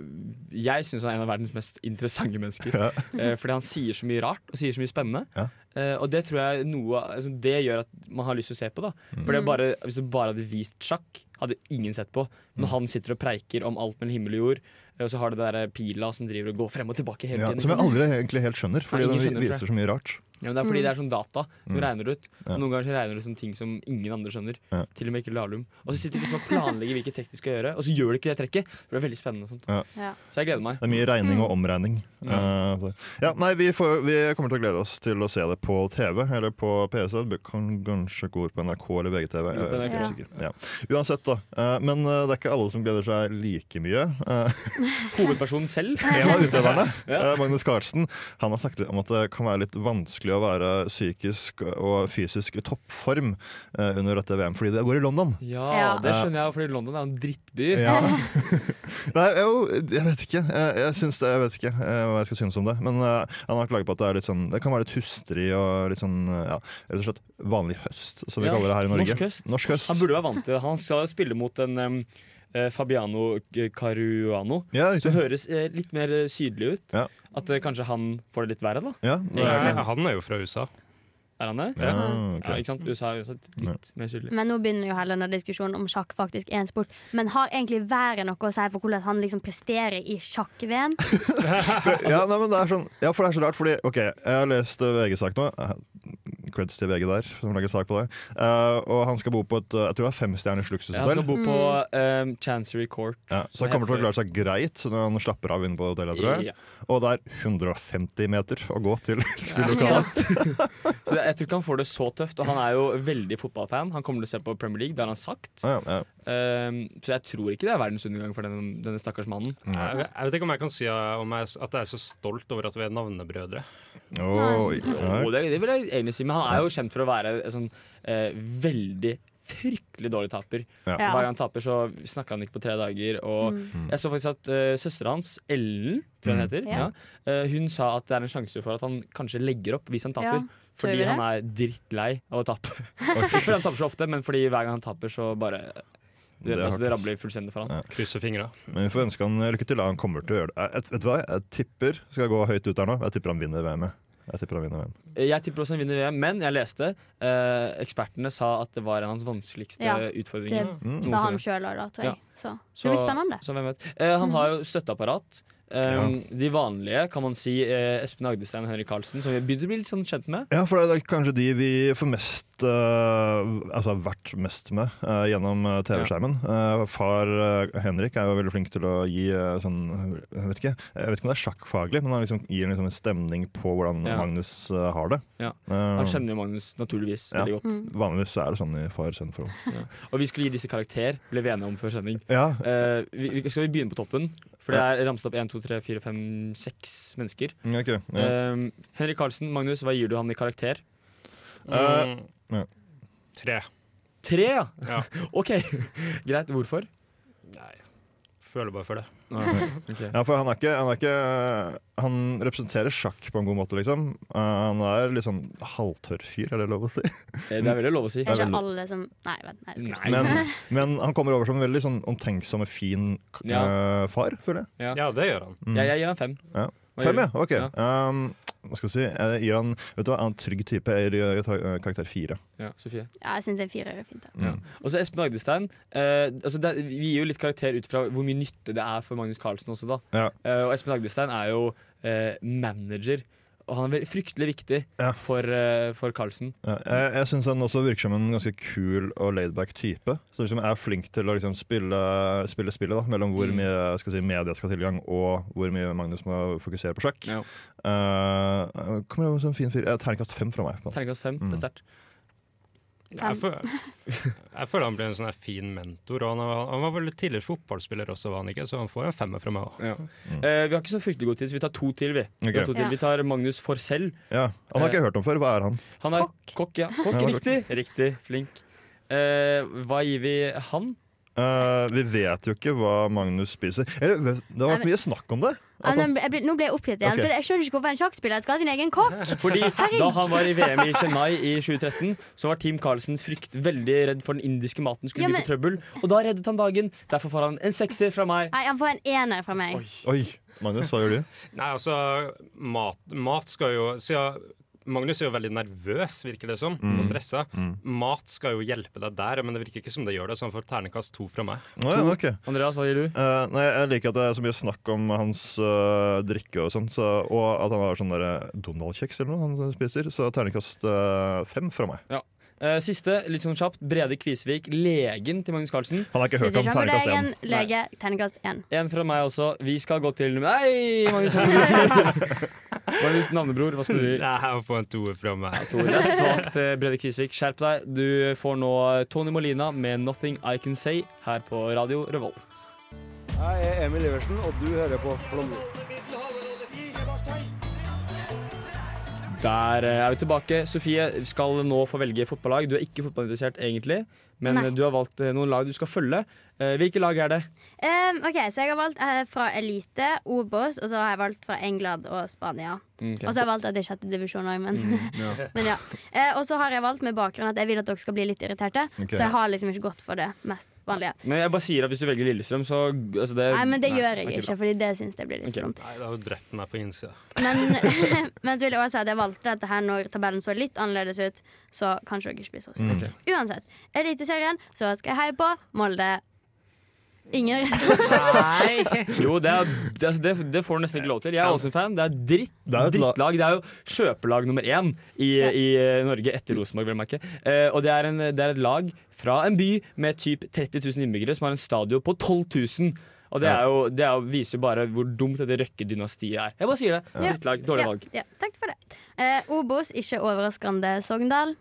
[SPEAKER 4] Jeg syns han er en av verdens mest interessante mennesker.
[SPEAKER 6] Ja.
[SPEAKER 4] Eh, fordi han sier så mye rart og sier så mye spennende.
[SPEAKER 6] Ja.
[SPEAKER 4] Eh, og det tror jeg noe altså, Det gjør at man har lyst til å se på. da
[SPEAKER 6] Mm.
[SPEAKER 4] For det er bare, Hvis du bare hadde vist sjakk, hadde ingen sett på. Når
[SPEAKER 6] Mm.
[SPEAKER 4] han sitter og preiker om alt mellom himmel og jord, eh, og så har det der pila som driver og går frem og tilbake hele
[SPEAKER 6] Ja,
[SPEAKER 4] tiden.
[SPEAKER 6] som
[SPEAKER 4] ikke
[SPEAKER 6] jeg
[SPEAKER 4] sant?
[SPEAKER 6] aldri egentlig helt skjønner, fordi
[SPEAKER 4] Nei, ingen
[SPEAKER 6] den
[SPEAKER 4] skjønner, tror
[SPEAKER 6] vi-
[SPEAKER 4] jeg.
[SPEAKER 6] viser så mye rart.
[SPEAKER 4] Ja, men det er fordi det er sånn data som regner ut.
[SPEAKER 6] Mm. Ja.
[SPEAKER 4] Og Noen ganger så regner det ut sånne ting som ingen andre skjønner.
[SPEAKER 6] Ja.
[SPEAKER 4] Til og med ikke Lahlum. Og så sitter de liksom og planlegger hvilke trekk de skal gjøre, og så gjør de ikke det trekket. Det blir veldig spennende og sånt.
[SPEAKER 5] Ja.
[SPEAKER 4] Så jeg gleder meg.
[SPEAKER 6] Det er mye regning og omregning.
[SPEAKER 4] Ja.
[SPEAKER 6] Eh, det- ja, nei, vi, får, vi kommer til å glede oss til å se det på TV eller på PC. Det kan kanskje gå på NRK eller VGTV. Jeg er ikke helt sikker. Ja. Uansett, da. Eh, Men eh, det er ikke alle som gleder seg like mye. Eh,
[SPEAKER 4] Hovedpersonen selv.
[SPEAKER 6] En av utøverne, eh, Magnus Carlsen, han har snakket om at det kan være litt vanskelig å være psykisk og fysisk i toppform eh, under dette VM, fordi det går i London.
[SPEAKER 4] Ja,
[SPEAKER 5] Ja.
[SPEAKER 4] det skjønner jeg, jo, fordi London er en drittby.
[SPEAKER 6] Ja. Nei, jo, jeg vet ikke. Jeg, jeg, syns det, jeg vet ikke eh, hva jeg skal synes om det. Men eh, han har klaget på at det, er litt sånn, det kan være litt hustrig og litt sånn eh, ja, rett og slett vanlig høst, som vi
[SPEAKER 4] Ja,
[SPEAKER 6] kaller det her i Norge.
[SPEAKER 4] norsk høst.
[SPEAKER 6] Norsk høst.
[SPEAKER 4] Han burde være vant til det. Han skal spille mot en em, eh, Fabiano Caruano.
[SPEAKER 6] Ja,
[SPEAKER 4] Som
[SPEAKER 6] riktig.
[SPEAKER 4] høres eh, litt mer eh, sydlig ut.
[SPEAKER 6] Ja.
[SPEAKER 4] At eh, kanskje han får det litt verre, da.
[SPEAKER 6] Ja, det er,
[SPEAKER 8] Ja, Eh, han er jo fra USA.
[SPEAKER 4] Er han det?
[SPEAKER 6] ja,
[SPEAKER 4] Ja,
[SPEAKER 6] ok.
[SPEAKER 4] ikke sant? USA er uansett litt mer sydlig.
[SPEAKER 5] Men nå begynner jo hele denne diskusjonen om sjakk faktisk er en sport. Men har egentlig været noe å si for hvordan han liksom presterer i sjakk-VM?
[SPEAKER 6] ja, nei, men det er sånn, ja, for det er så rart, fordi OK, jeg har lest eh, VG-sak nå. Eh, Creds til VG der, som lager sak på det. Eh, og han skal bo på et eh, jeg tror det er femstjerners
[SPEAKER 4] Ja, Han
[SPEAKER 6] luksushotell.
[SPEAKER 4] skal bo på em, Chancery Court.
[SPEAKER 6] Ja, så han kommer til å klare seg greit når han slapper av inne på hotellet. Tror jeg.
[SPEAKER 4] Ja.
[SPEAKER 6] Og det er 150 meter å gå til
[SPEAKER 4] Ikke
[SPEAKER 6] spillelokalet.
[SPEAKER 4] sant? så jeg tror ikke han får det så tøft. Og han er jo veldig fotballfan. Han kommer til å se på Premier League, det har han sagt.
[SPEAKER 6] Ja, ja,
[SPEAKER 4] Ehm, så jeg tror ikke det er verdensundergang for denne, denne stakkars mannen.
[SPEAKER 8] Jeg, vet- jeg vet ikke om jeg kan si eh, om jeg, at jeg er så stolt over at vi er navnebrødre.
[SPEAKER 6] Oi,
[SPEAKER 4] Og
[SPEAKER 6] nei.
[SPEAKER 4] det, det vil jeg egentlig si, men han er jo kjent for å være en sånn eh, veldig fryktelig dårlig taper.
[SPEAKER 5] Ja. Mm.
[SPEAKER 4] Hver gang han taper, så snakker han ikke på tre dager. Og
[SPEAKER 6] Mm.
[SPEAKER 4] jeg så faktisk at uh, søstera hans, Ellen, tror jeg hun heter,
[SPEAKER 5] Ja.
[SPEAKER 4] ja. eh, hun sa at det er en sjanse for at han kanskje legger opp hvis han
[SPEAKER 5] Ja,
[SPEAKER 4] taper.
[SPEAKER 5] tror
[SPEAKER 4] Fordi
[SPEAKER 5] vi det?
[SPEAKER 4] han er drittlei av å tape. Ikke fordi han taper så ofte, men fordi hver gang han taper, så bare Det,
[SPEAKER 6] Det er
[SPEAKER 4] altså, det
[SPEAKER 6] hardt.
[SPEAKER 4] rabler fullstendig for han.
[SPEAKER 6] Ja.
[SPEAKER 8] Krysser fingra.
[SPEAKER 6] Men vi får ønske han lykke til. da. Han kommer til å gjøre det. Jeg, vet du hva? Jeg tipper skal jeg gå høyt ut her nå. Jeg tipper han vinner VM-et. Jeg tipper han vinner VM.
[SPEAKER 4] Jeg tipper også han vinner VM, men jeg leste eh, ekspertene sa at det var en av hans vanskeligste
[SPEAKER 5] Ja,
[SPEAKER 4] utfordringer.
[SPEAKER 6] Mm.
[SPEAKER 5] Sa han sjøl òg, da, tror jeg. Så det blir spennende.
[SPEAKER 4] Så hvem vet. Eh, han har jo støtteapparat. Um, De vanlige, kan man si. eh, Espen Agdestein og Henrik Karlsen, som vi begynner å bli litt sånn kjent med.
[SPEAKER 6] Ja, for det er kanskje de vi får mest eh, Altså har vært mest med eh, gjennom eh, TV-skjermen. Eh, far eh, Henrik er jo veldig flink til å gi eh, sånn Jeg vet ikke Jeg vet ikke om det er sjakkfaglig, men han liksom gir liksom en stemning på hvordan
[SPEAKER 4] Ja.
[SPEAKER 6] Magnus eh, har det.
[SPEAKER 4] Ja.
[SPEAKER 6] Eh,
[SPEAKER 4] Han kjenner jo Magnus naturligvis
[SPEAKER 6] Ja.
[SPEAKER 4] veldig godt.
[SPEAKER 6] vanligvis er det sånn i far-sønn-forhold.
[SPEAKER 4] Og vi skulle gi disse karakter, ble vi enige om før sending.
[SPEAKER 6] Ja,
[SPEAKER 4] Eh, vi, vi, skal vi begynne på toppen? For det er ramset opp 1, 2, 3, 4, 5, 6 mennesker.
[SPEAKER 6] Mm, ok. Ja.
[SPEAKER 4] Um, Henrik Karlsen, Magnus, hva gir du han i karakter?
[SPEAKER 6] Eh, ja.
[SPEAKER 8] Mm. Tre.
[SPEAKER 4] Tre, ja!
[SPEAKER 8] Ja.
[SPEAKER 4] OK, greit. Hvorfor?
[SPEAKER 8] Nei, føler bare for det.
[SPEAKER 4] Ok.
[SPEAKER 6] Ja, for han er ikke Han, er ikke, han representerer sjakk på en god måte, liksom. Eh, han er litt sånn halvtørr fyr, er det lov å si?
[SPEAKER 4] Eh, Det er veldig lov å si.
[SPEAKER 5] Er
[SPEAKER 6] veldig-
[SPEAKER 5] ikke alle som Nei, vent. Nei, jeg skal ikke.
[SPEAKER 6] Men, men han kommer over som en veldig sånn omtenksom og fin eh,
[SPEAKER 4] Ja.
[SPEAKER 6] far, føler jeg.
[SPEAKER 4] Ja.
[SPEAKER 8] Ja, det gjør han.
[SPEAKER 4] Jeg, jeg gir han fem.
[SPEAKER 6] Ja.
[SPEAKER 4] Hva
[SPEAKER 6] Fem,
[SPEAKER 4] gir
[SPEAKER 6] ja.
[SPEAKER 4] du?
[SPEAKER 6] Ok. Um, hva skal jeg si? Jeg gir han Vet du hva, han er en trygg type. Jeg gir jeg tar, eh, karakter fire. Mm.
[SPEAKER 4] Ja, Sofie.
[SPEAKER 5] Ja, jeg syns en firer er fint. da.
[SPEAKER 4] Og så Espen Agdestein. Eh, altså det, er- vi gir jo litt karakter ut fra hvor mye nytte det er for Magnus Carlsen også, da.
[SPEAKER 6] Ja.
[SPEAKER 4] Eh, og Espen Agdestein er jo eh, manager, og han er veldig, fryktelig viktig
[SPEAKER 6] Ja.
[SPEAKER 4] for, eh, for Carlsen.
[SPEAKER 6] Ja, jeg jeg syns han også virker som en ganske kul og laidback type. Så liksom er flink til å liksom spille, spille spillet da, mellom hvor
[SPEAKER 4] Mm.
[SPEAKER 6] mye skal jeg si, media skal ha tilgang, og hvor mye Magnus må fokusere på sjakk.
[SPEAKER 4] Ja.
[SPEAKER 6] Eh, kommer over som en fin fyr. Eh, Terningkast fem fra meg. på en måte.
[SPEAKER 4] Terningkast fem.
[SPEAKER 6] Mm.
[SPEAKER 4] Det er sterkt.
[SPEAKER 8] Jeg, føl- jeg føler han ble en sånn her fin mentor. Og han, var- han var vel tidligere fotballspiller også, var han ikke? Så han får en femmer fra meg òg.
[SPEAKER 4] Eh, vi har ikke så fryktelig god tid, så vi tar to til, vi. Vi, tar
[SPEAKER 6] Mm. Ok.
[SPEAKER 4] to til.
[SPEAKER 5] Ja.
[SPEAKER 4] vi tar Magnus Forsell.
[SPEAKER 6] Ja.
[SPEAKER 4] Eh.
[SPEAKER 6] Han har ikke jeg hørt om før. Hva er han?
[SPEAKER 4] Han er kokk, ja. Kokk,
[SPEAKER 6] Ja,
[SPEAKER 4] riktig. Riktig. Flink. Eh, hva gir vi han?
[SPEAKER 6] Eh, vi vet jo ikke hva Magnus spiser. Eller, vet- det har vært mye snakk om det.
[SPEAKER 5] Ja,
[SPEAKER 6] At han,
[SPEAKER 5] men jeg ble, nå ble jeg oppgitt igjen.
[SPEAKER 6] altså- Ok.
[SPEAKER 5] For jeg skjønner ikke hvorfor en sjakkspiller skal ha sin egen kokk.
[SPEAKER 4] Fordi da han var i VM i Chennai i 2013, så var Team Carlsen frykt veldig redd for den indiske maten skulle
[SPEAKER 5] Ja,
[SPEAKER 4] bli
[SPEAKER 5] men-
[SPEAKER 4] på trøbbel. Og da reddet han dagen. Derfor får han en sekser fra meg.
[SPEAKER 5] Nei, han får en ener fra meg.
[SPEAKER 6] oi, Magnus, hva gjør du?
[SPEAKER 8] Nei, altså, mat, mat skal jo siden Magnus er jo veldig nervøs, virker det som,
[SPEAKER 6] Mm.
[SPEAKER 8] og stressa. Mat skal jo hjelpe deg der, men det virker ikke som det gjør det, så han får ternekast to fra meg.
[SPEAKER 6] Nå, ja, ok.
[SPEAKER 4] Andreas, hva gir du?
[SPEAKER 6] Eh, nei, Jeg liker at det er så mye snakk om hans eh, drikke og sånn, så, og at han har sånn der Donald-kjeks eller noe han spiser. Så terningkast eh, fem fra meg.
[SPEAKER 4] Eh, siste, litt sånn kjapt. Brede Kvisvik, legen til Magnus Carlsen.
[SPEAKER 6] Han har ikke
[SPEAKER 5] Syns
[SPEAKER 6] hørt om
[SPEAKER 5] ikke han burde
[SPEAKER 6] terningkast
[SPEAKER 5] egen
[SPEAKER 6] én.
[SPEAKER 5] lege. Terningkast én.
[SPEAKER 4] En fra meg også. Vi skal gå til Nei, Magnus Navnebror. Magnus Navnebror, hva skal du gi?
[SPEAKER 8] Nei, han får en toer fra meg.
[SPEAKER 4] Tore, Det er svakt, eh, Brede Kvisvik. Skjerp deg. Du får nå eh, Tony Molina med 'Nothing I Can Say' her på Radio Revolt.
[SPEAKER 3] Jeg er Emil Iversen, og du hører på Flåmlys.
[SPEAKER 4] Der eh, er vi tilbake. Sofie skal nå få velge fotballag. Du er ikke fotballinteressert egentlig, men
[SPEAKER 5] Nei.
[SPEAKER 4] eh, du har valgt eh, noen lag du skal følge. Eh, Hvilke lag er det?
[SPEAKER 5] Um, ok, Så jeg har valgt eh, fra Elite, Obos, og så har jeg valgt fra England og Spania.
[SPEAKER 6] Mm,
[SPEAKER 5] Og så har jeg valgt at det er sjette divisjon òg, men, men ja. Eh, og så har jeg valgt med bakgrunn at jeg vil at dere skal bli litt irriterte.
[SPEAKER 6] Ok.
[SPEAKER 5] Så jeg har liksom ikke gått for det mest vanlige.
[SPEAKER 4] Men jeg bare sier at hvis du velger Lillestrøm, så altså det,
[SPEAKER 5] Nei, men det gjør jeg
[SPEAKER 4] ok,
[SPEAKER 5] ikke, fordi det syns jeg blir litt
[SPEAKER 4] Ok.
[SPEAKER 5] dumt.
[SPEAKER 8] Nei, det har jo drept meg på innsida.
[SPEAKER 5] Men, men så vil jeg også si at jeg valgte dette her når tabellen så litt annerledes ut. Så kanskje dere ikke blir så
[SPEAKER 4] Mm.
[SPEAKER 5] sure. Uansett. Eliteserien, så skal jeg heie på Molde. Ingen
[SPEAKER 4] bra. Jo, det, er, det, altså, det, det får du nesten ikke lov til. Jeg er Ålesund-fan. Det er dritt,
[SPEAKER 6] Det er jo et la-
[SPEAKER 4] drittlag. Det er jo kjøpelag nummer én i, i eh, Norge etter Rosenborg, vil jeg merke. Eh, og det er, en, det er et lag fra en by med typ 30 000 innbyggere som har en stadion på 12 000. Og det, er jo, det er jo, viser jo bare hvor dumt dette Røkke-dynastiet er. Jeg bare sier det. Drittlag. Dårlig
[SPEAKER 5] ja,
[SPEAKER 4] valg.
[SPEAKER 5] ja, takk for det. Eh, Obos, ikke overraskende Sogndal.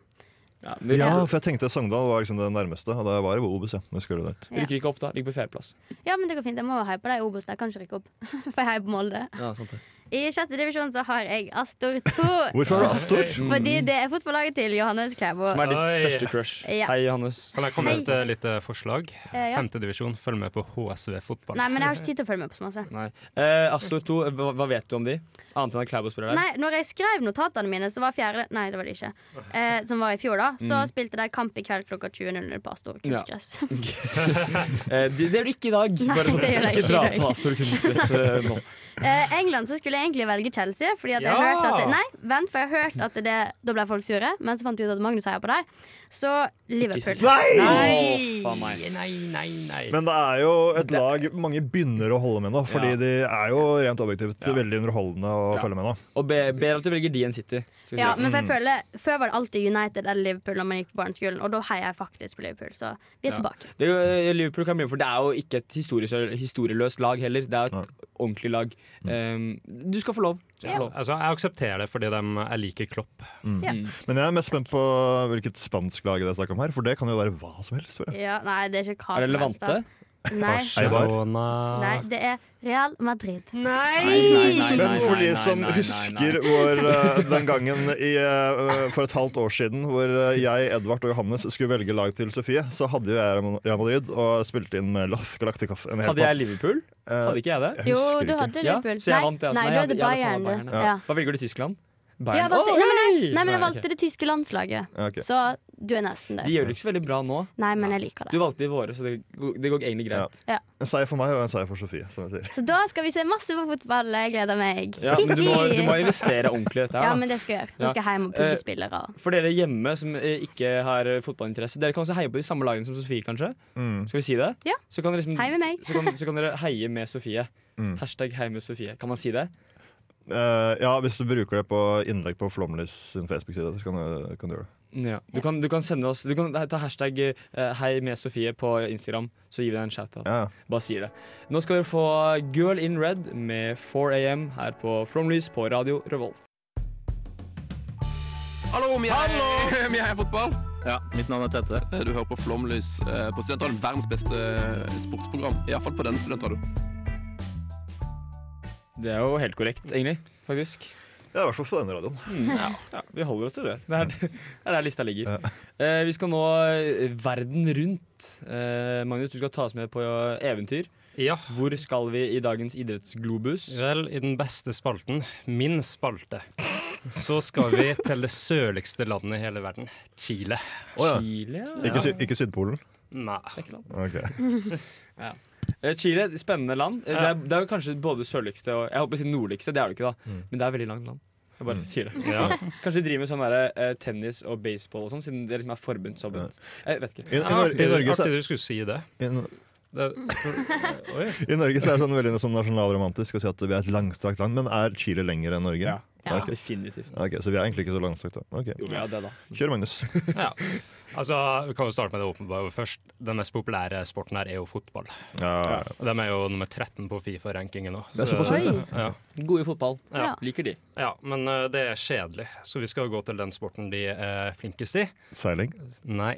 [SPEAKER 4] Ja, det
[SPEAKER 6] Ja, for jeg tenkte Sogndal var liksom det nærmeste, og da var jeg på Obus. Ja. når jeg skulle dit.
[SPEAKER 4] Rykker ikke opp da, ligger på fjerdeplass.
[SPEAKER 5] Ja, men det går fint. Jeg må heie på deg i Obos. Jeg kan ikke rykke opp, for jeg heier på Molde.
[SPEAKER 4] Ja, sant det.
[SPEAKER 5] I sjette divisjon så har jeg Astor 2.
[SPEAKER 6] Hvorfor er det Astor?
[SPEAKER 5] Fordi det er fotballaget til Johannes Klæbo.
[SPEAKER 4] Som er ditt
[SPEAKER 8] Oi.
[SPEAKER 4] største crush.
[SPEAKER 5] Ja.
[SPEAKER 4] Hei, Johannes.
[SPEAKER 8] Kan jeg komme med et eh, lite forslag?
[SPEAKER 5] Eh, ja.
[SPEAKER 8] Femtedivisjon, følg med på HSV fotball.
[SPEAKER 5] Nei, men jeg har ikke tid til å følge med på så masse.
[SPEAKER 4] Nei. Eh, Astor 2, hva, hva vet du om de? Annet enn at Klæbo spiller der?
[SPEAKER 5] Nei, når jeg skrev notatene mine, så var fjerde Nei, det var det ikke. Eh, som var i fjor, da. Så
[SPEAKER 4] Mm.
[SPEAKER 5] spilte de kamp i kveld klokka 20.00 på Astor kunstgress.
[SPEAKER 4] Eh, det det gjør de ikke i dag.
[SPEAKER 5] Nei,
[SPEAKER 4] Bare sånn,
[SPEAKER 5] det gjør de
[SPEAKER 4] ikke
[SPEAKER 5] ikke i
[SPEAKER 4] dra
[SPEAKER 5] dag.
[SPEAKER 4] på Astor kunstgress eh, nå.
[SPEAKER 5] Eh, England så skulle jeg egentlig velge Chelsea. Fordi at jeg
[SPEAKER 8] Ja!
[SPEAKER 5] hørte at Nei, vent, for jeg hørte at det Da ble folk sure, men så fant jeg ut at Magnus heier på dem. Så Liverpool.
[SPEAKER 6] Nei!
[SPEAKER 4] Å, faen meg.
[SPEAKER 6] Men det er jo et lag mange begynner å holde med nå, fordi
[SPEAKER 4] Ja.
[SPEAKER 6] de er jo rent objektivt veldig underholdende å
[SPEAKER 4] Ja.
[SPEAKER 6] følge med nå.
[SPEAKER 4] Og be, ber at du velger de enn City. skal vi
[SPEAKER 5] Ja,
[SPEAKER 4] si.
[SPEAKER 5] men for jeg føler Før var det alltid United eller Liverpool når man gikk på barneskolen, og da heier jeg faktisk på Liverpool, så vi er
[SPEAKER 4] Ja.
[SPEAKER 5] tilbake.
[SPEAKER 4] Det er jo, eh, Liverpool kan bli med, for det er jo ikke et historisk, historieløst lag heller. Det er jo et ordentlig lag.
[SPEAKER 6] Mm.
[SPEAKER 4] Eh, du skal få lov. Du skal få lov.
[SPEAKER 8] Altså, jeg aksepterer det fordi de, jeg liker Klopp.
[SPEAKER 6] Men jeg er mest spent på hvilket spansk lag det er snakk om her, for det kan jo være hva som helst. Tror jeg.
[SPEAKER 5] Ja, nei, det er ikke hva
[SPEAKER 4] Er det
[SPEAKER 5] som helst,
[SPEAKER 4] Levante?
[SPEAKER 5] da. Nei,
[SPEAKER 6] Eibar.
[SPEAKER 5] nei, det er Real Madrid.
[SPEAKER 6] Men for de som husker hvor, eh, den gangen i, eh, for et halvt år siden hvor eh, jeg, Edvard og Johannes skulle velge lag til Sofie, så hadde jo jeg Real Madrid og spilte inn med Loth Galacticos. En hel
[SPEAKER 4] Hadde jeg Liverpool?
[SPEAKER 6] papp. Eh,
[SPEAKER 4] Hadde ikke jeg det?
[SPEAKER 6] jeg
[SPEAKER 5] Jo,
[SPEAKER 6] husker
[SPEAKER 5] du
[SPEAKER 6] ikke.
[SPEAKER 5] hadde
[SPEAKER 4] Ja,
[SPEAKER 5] Liverpool.
[SPEAKER 4] så jeg vant det, altså.
[SPEAKER 5] Nei,
[SPEAKER 4] Nei,
[SPEAKER 5] du
[SPEAKER 4] jeg
[SPEAKER 5] hadde
[SPEAKER 4] hadde- jeg hadde faen
[SPEAKER 5] Bayern.
[SPEAKER 4] meg Bayern,
[SPEAKER 5] du. Ja.
[SPEAKER 4] Hva velger du? Tyskland?
[SPEAKER 5] Ja,
[SPEAKER 4] Bayern?
[SPEAKER 5] jeg valgte, nei, men, jeg, nei, men jeg
[SPEAKER 4] Nei, ok.
[SPEAKER 5] valgte det tyske landslaget,
[SPEAKER 6] Ja, ok.
[SPEAKER 5] så du er
[SPEAKER 4] De
[SPEAKER 5] nesten der.
[SPEAKER 4] gjør det ikke så veldig bra nå.
[SPEAKER 5] Nei, men jeg liker
[SPEAKER 4] Du
[SPEAKER 5] det.
[SPEAKER 4] valgte i våre, så det, det går egentlig greit.
[SPEAKER 6] En seier for meg og en seier for Sofie, som jeg sier.
[SPEAKER 5] Så da skal vi se masse på fotball. Jeg gleder meg.
[SPEAKER 4] Ja, men du må, du må investere ordentlig i dette. her
[SPEAKER 5] Ja,
[SPEAKER 4] da.
[SPEAKER 5] men det skal jeg gjøre. Nå skal jeg hjem og
[SPEAKER 4] Eh,
[SPEAKER 5] pugge spillere.
[SPEAKER 4] For dere hjemme som eh, ikke har eh, fotballinteresse, dere kan også heie på de samme lagene som Sofie, kanskje? Skal vi si det?
[SPEAKER 5] Ja.
[SPEAKER 4] Så kan, dere liksom,
[SPEAKER 5] Hei med meg.
[SPEAKER 4] så kan, så kan dere heie med Sofie. Hashtag hei med Sofie. Kan man si det?
[SPEAKER 6] Eh, ja, hvis du bruker det på innlegg på Flåmlys sin Facebook-side, så kan du, kan du gjøre det.
[SPEAKER 4] Du, kan, du kan sende oss Du kan ta hashtag eh, hei med Sofie på Instagram, så gir vi deg en shout-out.
[SPEAKER 6] Ja.
[SPEAKER 4] Bare sier det. Nå skal dere få Girl in Red med 4AM her på Flomlys på Radio Revolt.
[SPEAKER 7] Hallo, vi er, vi er fotball. Ja, Mitt navn er Tette. Du hører på Flomlys eh, på Studentradioen. Verdens beste eh, sportsprogram. Iallfall på denne studentradioen.
[SPEAKER 4] Det er jo helt korrekt, egentlig. Faktisk.
[SPEAKER 6] Ja, I hvert fall på denne radioen.
[SPEAKER 4] Ja, vi holder oss til det. Det er der, det er der lista ligger. Eh, vi skal nå eh, verden rundt. Eh, Magnus, du skal ta oss med på eventyr.
[SPEAKER 8] Ja.
[SPEAKER 4] Hvor skal vi i dagens idrettsglobus?
[SPEAKER 8] Vel, i den beste spalten, min spalte, så skal vi til det sørligste landet i hele verden, Chile.
[SPEAKER 6] ja.
[SPEAKER 4] Chile?
[SPEAKER 6] Ikke, sy ikke Sydpolen?
[SPEAKER 8] Nei.
[SPEAKER 6] Ok.
[SPEAKER 4] Eh, Chile, spennende land. Eh, Det er, det er jo kanskje både sørligste og Jeg håper å si nordligste, det er det ikke, da. Men det er veldig langt land. Jeg bare sier det. Kanskje de driver med sånn der, eh, tennis og baseball og sånn, siden det liksom er forbundsforbund. Jeg vet ikke.
[SPEAKER 6] I, i, Nor i, Norge, så,
[SPEAKER 8] Artig du skulle si det.
[SPEAKER 6] i,
[SPEAKER 8] det oi.
[SPEAKER 6] I Norge så er det sånn veldig sånn nasjonalromantisk å si at vi er et langstrakt land, men er Chile lenger enn Norge?
[SPEAKER 4] Ja.
[SPEAKER 5] Ja.
[SPEAKER 6] Ok.
[SPEAKER 4] Definitivt.
[SPEAKER 6] Ok, Så vi er egentlig ikke så langstrakt. da. Ok.
[SPEAKER 4] Jo, ja, det da.
[SPEAKER 6] Kjør, Magnus.
[SPEAKER 8] Ja. Altså, Vi kan jo starte med det åpenbare først. Den mest populære sporten her er jo fotball.
[SPEAKER 6] Ja.
[SPEAKER 8] Og De er jo nummer 13 på Fifa-rankingen nå.
[SPEAKER 6] Det er såpass,
[SPEAKER 5] Oi.
[SPEAKER 8] ja.
[SPEAKER 4] Gode i fotball.
[SPEAKER 5] Ja.
[SPEAKER 4] Liker de.
[SPEAKER 8] ja, Men eh, det er kjedelig, så vi skal gå til den sporten de er flinkest i.
[SPEAKER 6] Seiling.
[SPEAKER 8] Nei,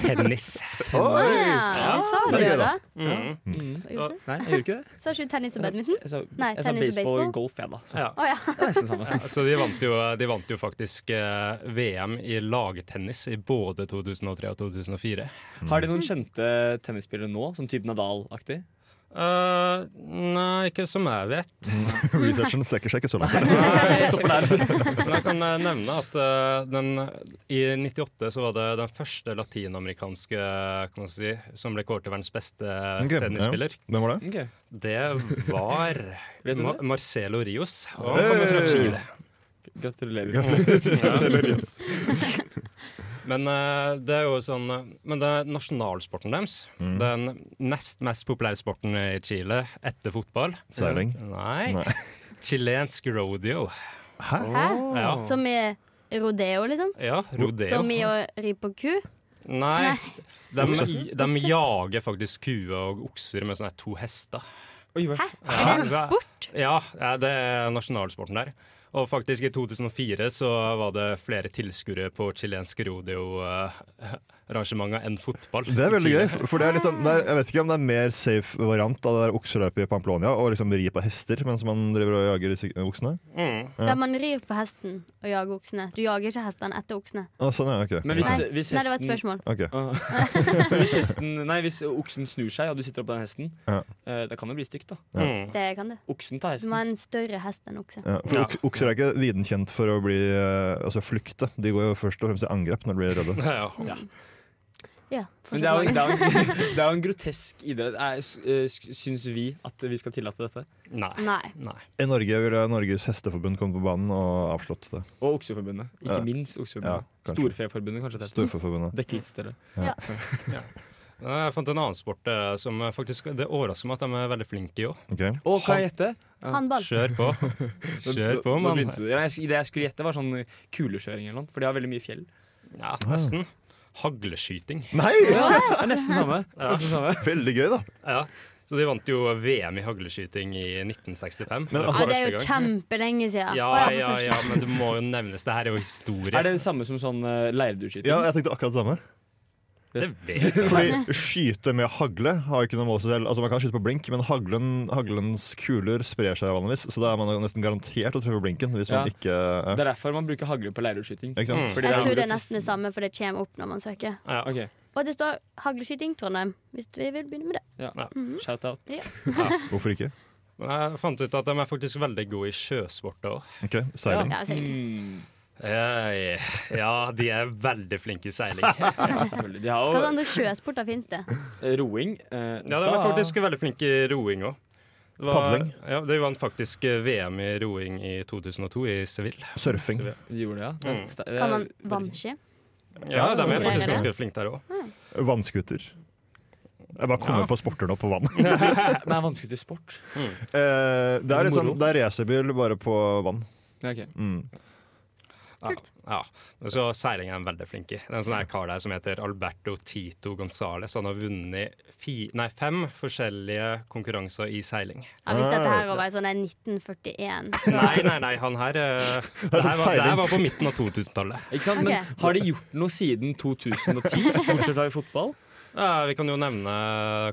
[SPEAKER 8] tennis.
[SPEAKER 5] Å
[SPEAKER 6] Oi!
[SPEAKER 5] ja, sa du
[SPEAKER 6] det er
[SPEAKER 5] jo
[SPEAKER 6] gøy,
[SPEAKER 5] det.
[SPEAKER 6] da.
[SPEAKER 8] Mm.
[SPEAKER 5] Gjorde du?
[SPEAKER 4] Nei, jeg gjør ikke det.
[SPEAKER 5] Sa ikke du tennis og badminton?
[SPEAKER 4] Jeg sa,
[SPEAKER 5] Nei,
[SPEAKER 4] jeg sa
[SPEAKER 5] tennis og
[SPEAKER 4] baseball
[SPEAKER 5] baseball.
[SPEAKER 4] og golf, jeg, da. Så.
[SPEAKER 8] Ja.
[SPEAKER 5] Å ja.
[SPEAKER 4] Det er nesten samme.
[SPEAKER 8] Så de vant jo, de vant jo faktisk eh, VM i lagtennis i både 2003 og 2004.
[SPEAKER 4] Har de noen kjente tennisspillere nå, sånn type Nadal-aktig?
[SPEAKER 8] Eh, nei, ikke som jeg vet.
[SPEAKER 6] Researchen strekker seg ikke så langt.
[SPEAKER 4] Jeg stopper der. så.
[SPEAKER 8] Men jeg kan eh, nevne at eh, den, i 98 så var det den første latinamerikanske eh, kan man si, som ble kåret til verdens beste eh,
[SPEAKER 6] Ok, ja.
[SPEAKER 8] tennisspiller.
[SPEAKER 6] Hvem var det?
[SPEAKER 4] Ok.
[SPEAKER 8] Det var
[SPEAKER 4] Vet du
[SPEAKER 8] Ma
[SPEAKER 4] det?
[SPEAKER 8] Marcelo Rios. Og han kommer fra Chile.
[SPEAKER 4] Gratulerer.
[SPEAKER 8] Men eh, det er jo sånn eh, Men det er nasjonalsporten deres.
[SPEAKER 6] Mm.
[SPEAKER 8] Den nest mest populære sporten i Chile etter fotball.
[SPEAKER 6] Seiling.
[SPEAKER 8] Nei.
[SPEAKER 6] Nei.
[SPEAKER 8] Chilensk rodeo.
[SPEAKER 5] Hæ?
[SPEAKER 8] Ja.
[SPEAKER 5] Som i rodeo, liksom?
[SPEAKER 8] Ja, rodeo.
[SPEAKER 5] Som i å ri på ku?
[SPEAKER 8] Nei. De, de jager faktisk kuer og okser med sånne her to hester.
[SPEAKER 4] Oi, hva-
[SPEAKER 5] Hæ? Er det en
[SPEAKER 8] Ja.
[SPEAKER 5] sport?
[SPEAKER 8] Ja, ja, det er nasjonalsporten der. Og faktisk, i 2004 så var det flere tilskuere på chilensk rodeo-arrangementer enn fotball.
[SPEAKER 6] Det er
[SPEAKER 8] i
[SPEAKER 6] veldig
[SPEAKER 8] Chile.
[SPEAKER 6] gøy. for- For det er litt sånn, det er, jeg vet ikke om det er mer safe variant av det der okseløpet i Pamplonia, å liksom ri på hester mens man driver og jager disse oksene.
[SPEAKER 5] Der man rir på hesten og jager oksene. Du jager ikke hestene etter oksene.
[SPEAKER 6] Å, sånn, ja, ok.
[SPEAKER 4] Men hvis,
[SPEAKER 5] Nei.
[SPEAKER 4] hvis
[SPEAKER 5] Nei, det var et
[SPEAKER 4] hesten
[SPEAKER 5] spørsmål.
[SPEAKER 6] Ok.
[SPEAKER 4] Men hvis, hesten, nei, hvis oksen snur seg, og du sitter oppå den hesten,
[SPEAKER 6] Ja.
[SPEAKER 4] eh, det kan jo bli stygt, da.
[SPEAKER 8] Mm.
[SPEAKER 5] Det kan du.
[SPEAKER 4] Oksen tar
[SPEAKER 5] Du
[SPEAKER 4] hesten.
[SPEAKER 5] må ha en større hest enn okse.
[SPEAKER 6] Ja, for
[SPEAKER 8] Ja.
[SPEAKER 6] ok- Okser er ikke viden kjent for å bli, eh, altså flykte. De går jo først og fremst i angrep når de blir redde.
[SPEAKER 8] Ja.
[SPEAKER 5] Ja,
[SPEAKER 4] Men det er, jo, det, er jo en, det er jo en grotesk idrett. Er, eh, syns vi at vi skal tillate dette?
[SPEAKER 8] Nei.
[SPEAKER 5] Nei.
[SPEAKER 8] Nei.
[SPEAKER 6] I Norge ville Norges hesteforbund kommet på banen og avslått det.
[SPEAKER 4] Og Okseforbundet. Ikke
[SPEAKER 6] Ja.
[SPEAKER 4] minst Okseforbundet.
[SPEAKER 6] Ja, kanskje.
[SPEAKER 4] Storfeforbundet, kanskje det heter.
[SPEAKER 6] Storforbundet.
[SPEAKER 4] Dekke litt større.
[SPEAKER 8] Nei, Jeg fant en annen sport eh, som eh, faktisk Det overrasker meg at de er veldig flinke i òg.
[SPEAKER 6] Ok.
[SPEAKER 4] Og kan jeg gjette?
[SPEAKER 5] Håndball.
[SPEAKER 8] Kjør på. Kjør på,
[SPEAKER 4] Nå- nå
[SPEAKER 8] mann.
[SPEAKER 4] begynte det. Ja, jeg- Det jeg skulle gjette, var sånn kulekjøring eller noe, for de har veldig mye fjell.
[SPEAKER 8] Ja, nesten. Hagleskyting.
[SPEAKER 6] Nei!
[SPEAKER 4] Det er nesten samme. Nesten samme.
[SPEAKER 6] Veldig gøy, da.
[SPEAKER 8] Ja. Så de vant jo VM i hagleskyting i 1965.
[SPEAKER 6] Men
[SPEAKER 8] var
[SPEAKER 6] altså-
[SPEAKER 5] Ja, det er jo
[SPEAKER 8] første gang.
[SPEAKER 5] kjempelenge siden.
[SPEAKER 8] Ja,
[SPEAKER 5] Å,
[SPEAKER 8] ja,
[SPEAKER 5] for
[SPEAKER 8] ja, men det må jo nevnes. Det her er jo historie.
[SPEAKER 4] Er det det samme som sånn uh, leirdueskyting?
[SPEAKER 6] Ja, jeg tenkte akkurat det samme.
[SPEAKER 8] Det vet jeg.
[SPEAKER 6] Fordi skyte med hagle har jo ikke noe mål seg selv. Altså Man kan skyte på blink, men haglen, haglens kuler sprer seg vanligvis. Så da er man jo nesten garantert å treffe blinken hvis man
[SPEAKER 4] Ja.
[SPEAKER 6] ikke ja.
[SPEAKER 4] Det er derfor man bruker hagle på leirdueskyting.
[SPEAKER 6] Ikke sant?
[SPEAKER 4] Fordi
[SPEAKER 5] Jeg
[SPEAKER 4] det er-
[SPEAKER 5] tror det er nesten det samme, for det kommer opp når man søker.
[SPEAKER 8] Ja,
[SPEAKER 4] Ok,
[SPEAKER 5] Og det står 'hagleskyting Trondheim', hvis vi vil begynne med det.
[SPEAKER 4] ja. Shout out.
[SPEAKER 6] Hvorfor ikke?
[SPEAKER 8] Men jeg fant ut at de er faktisk veldig gode i sjøsporter òg.
[SPEAKER 6] Ok, Seiling.
[SPEAKER 5] Ja, sikkert.
[SPEAKER 4] Mm,
[SPEAKER 8] Eh, Ja, de er veldig flinke i seiling.
[SPEAKER 4] ja, selvfølgelig. De har
[SPEAKER 5] Hvilke
[SPEAKER 4] jo
[SPEAKER 5] andre sånn, sjøsporter finnes det?
[SPEAKER 4] Roing. eh,
[SPEAKER 8] Ja, de er
[SPEAKER 4] da-
[SPEAKER 8] faktisk veldig flinke i roing òg.
[SPEAKER 6] Padling.
[SPEAKER 8] Ja, de vant faktisk eh, VM i roing i 2002 i Seville.
[SPEAKER 6] Surfing.
[SPEAKER 4] De gjorde det, ja. Det er
[SPEAKER 8] Mm.
[SPEAKER 4] sta- det er-
[SPEAKER 5] Kan man vannski?
[SPEAKER 8] Ja, de er
[SPEAKER 5] Greier
[SPEAKER 8] faktisk
[SPEAKER 5] det.
[SPEAKER 8] ganske flinke der òg.
[SPEAKER 6] Vannskuter. Jeg bare kommer på sporter nå, på vann.
[SPEAKER 4] Men er vanskelig til sport.
[SPEAKER 6] Eh, det er litt sånn,
[SPEAKER 4] Moro.
[SPEAKER 6] det er racerbil bare på vann.
[SPEAKER 4] Ja, ok.
[SPEAKER 6] Mm.
[SPEAKER 8] Ja, men så seiling er de veldig flinke i. Det er en sånn her kar der som heter Alberto Tito Gonzales. Han har vunnet fi, nei, fem forskjellige konkurranser i seiling.
[SPEAKER 5] Ja, hvis dette her var sånn en 1941
[SPEAKER 8] Nei, nei, nei, han her eh, Det her var, det her var på midten av 2000-tallet.
[SPEAKER 4] Ikke sant?
[SPEAKER 5] Ok.
[SPEAKER 4] Men har de gjort noe siden 2010, bortsett fra i fotball?
[SPEAKER 8] Ja, vi kan jo nevne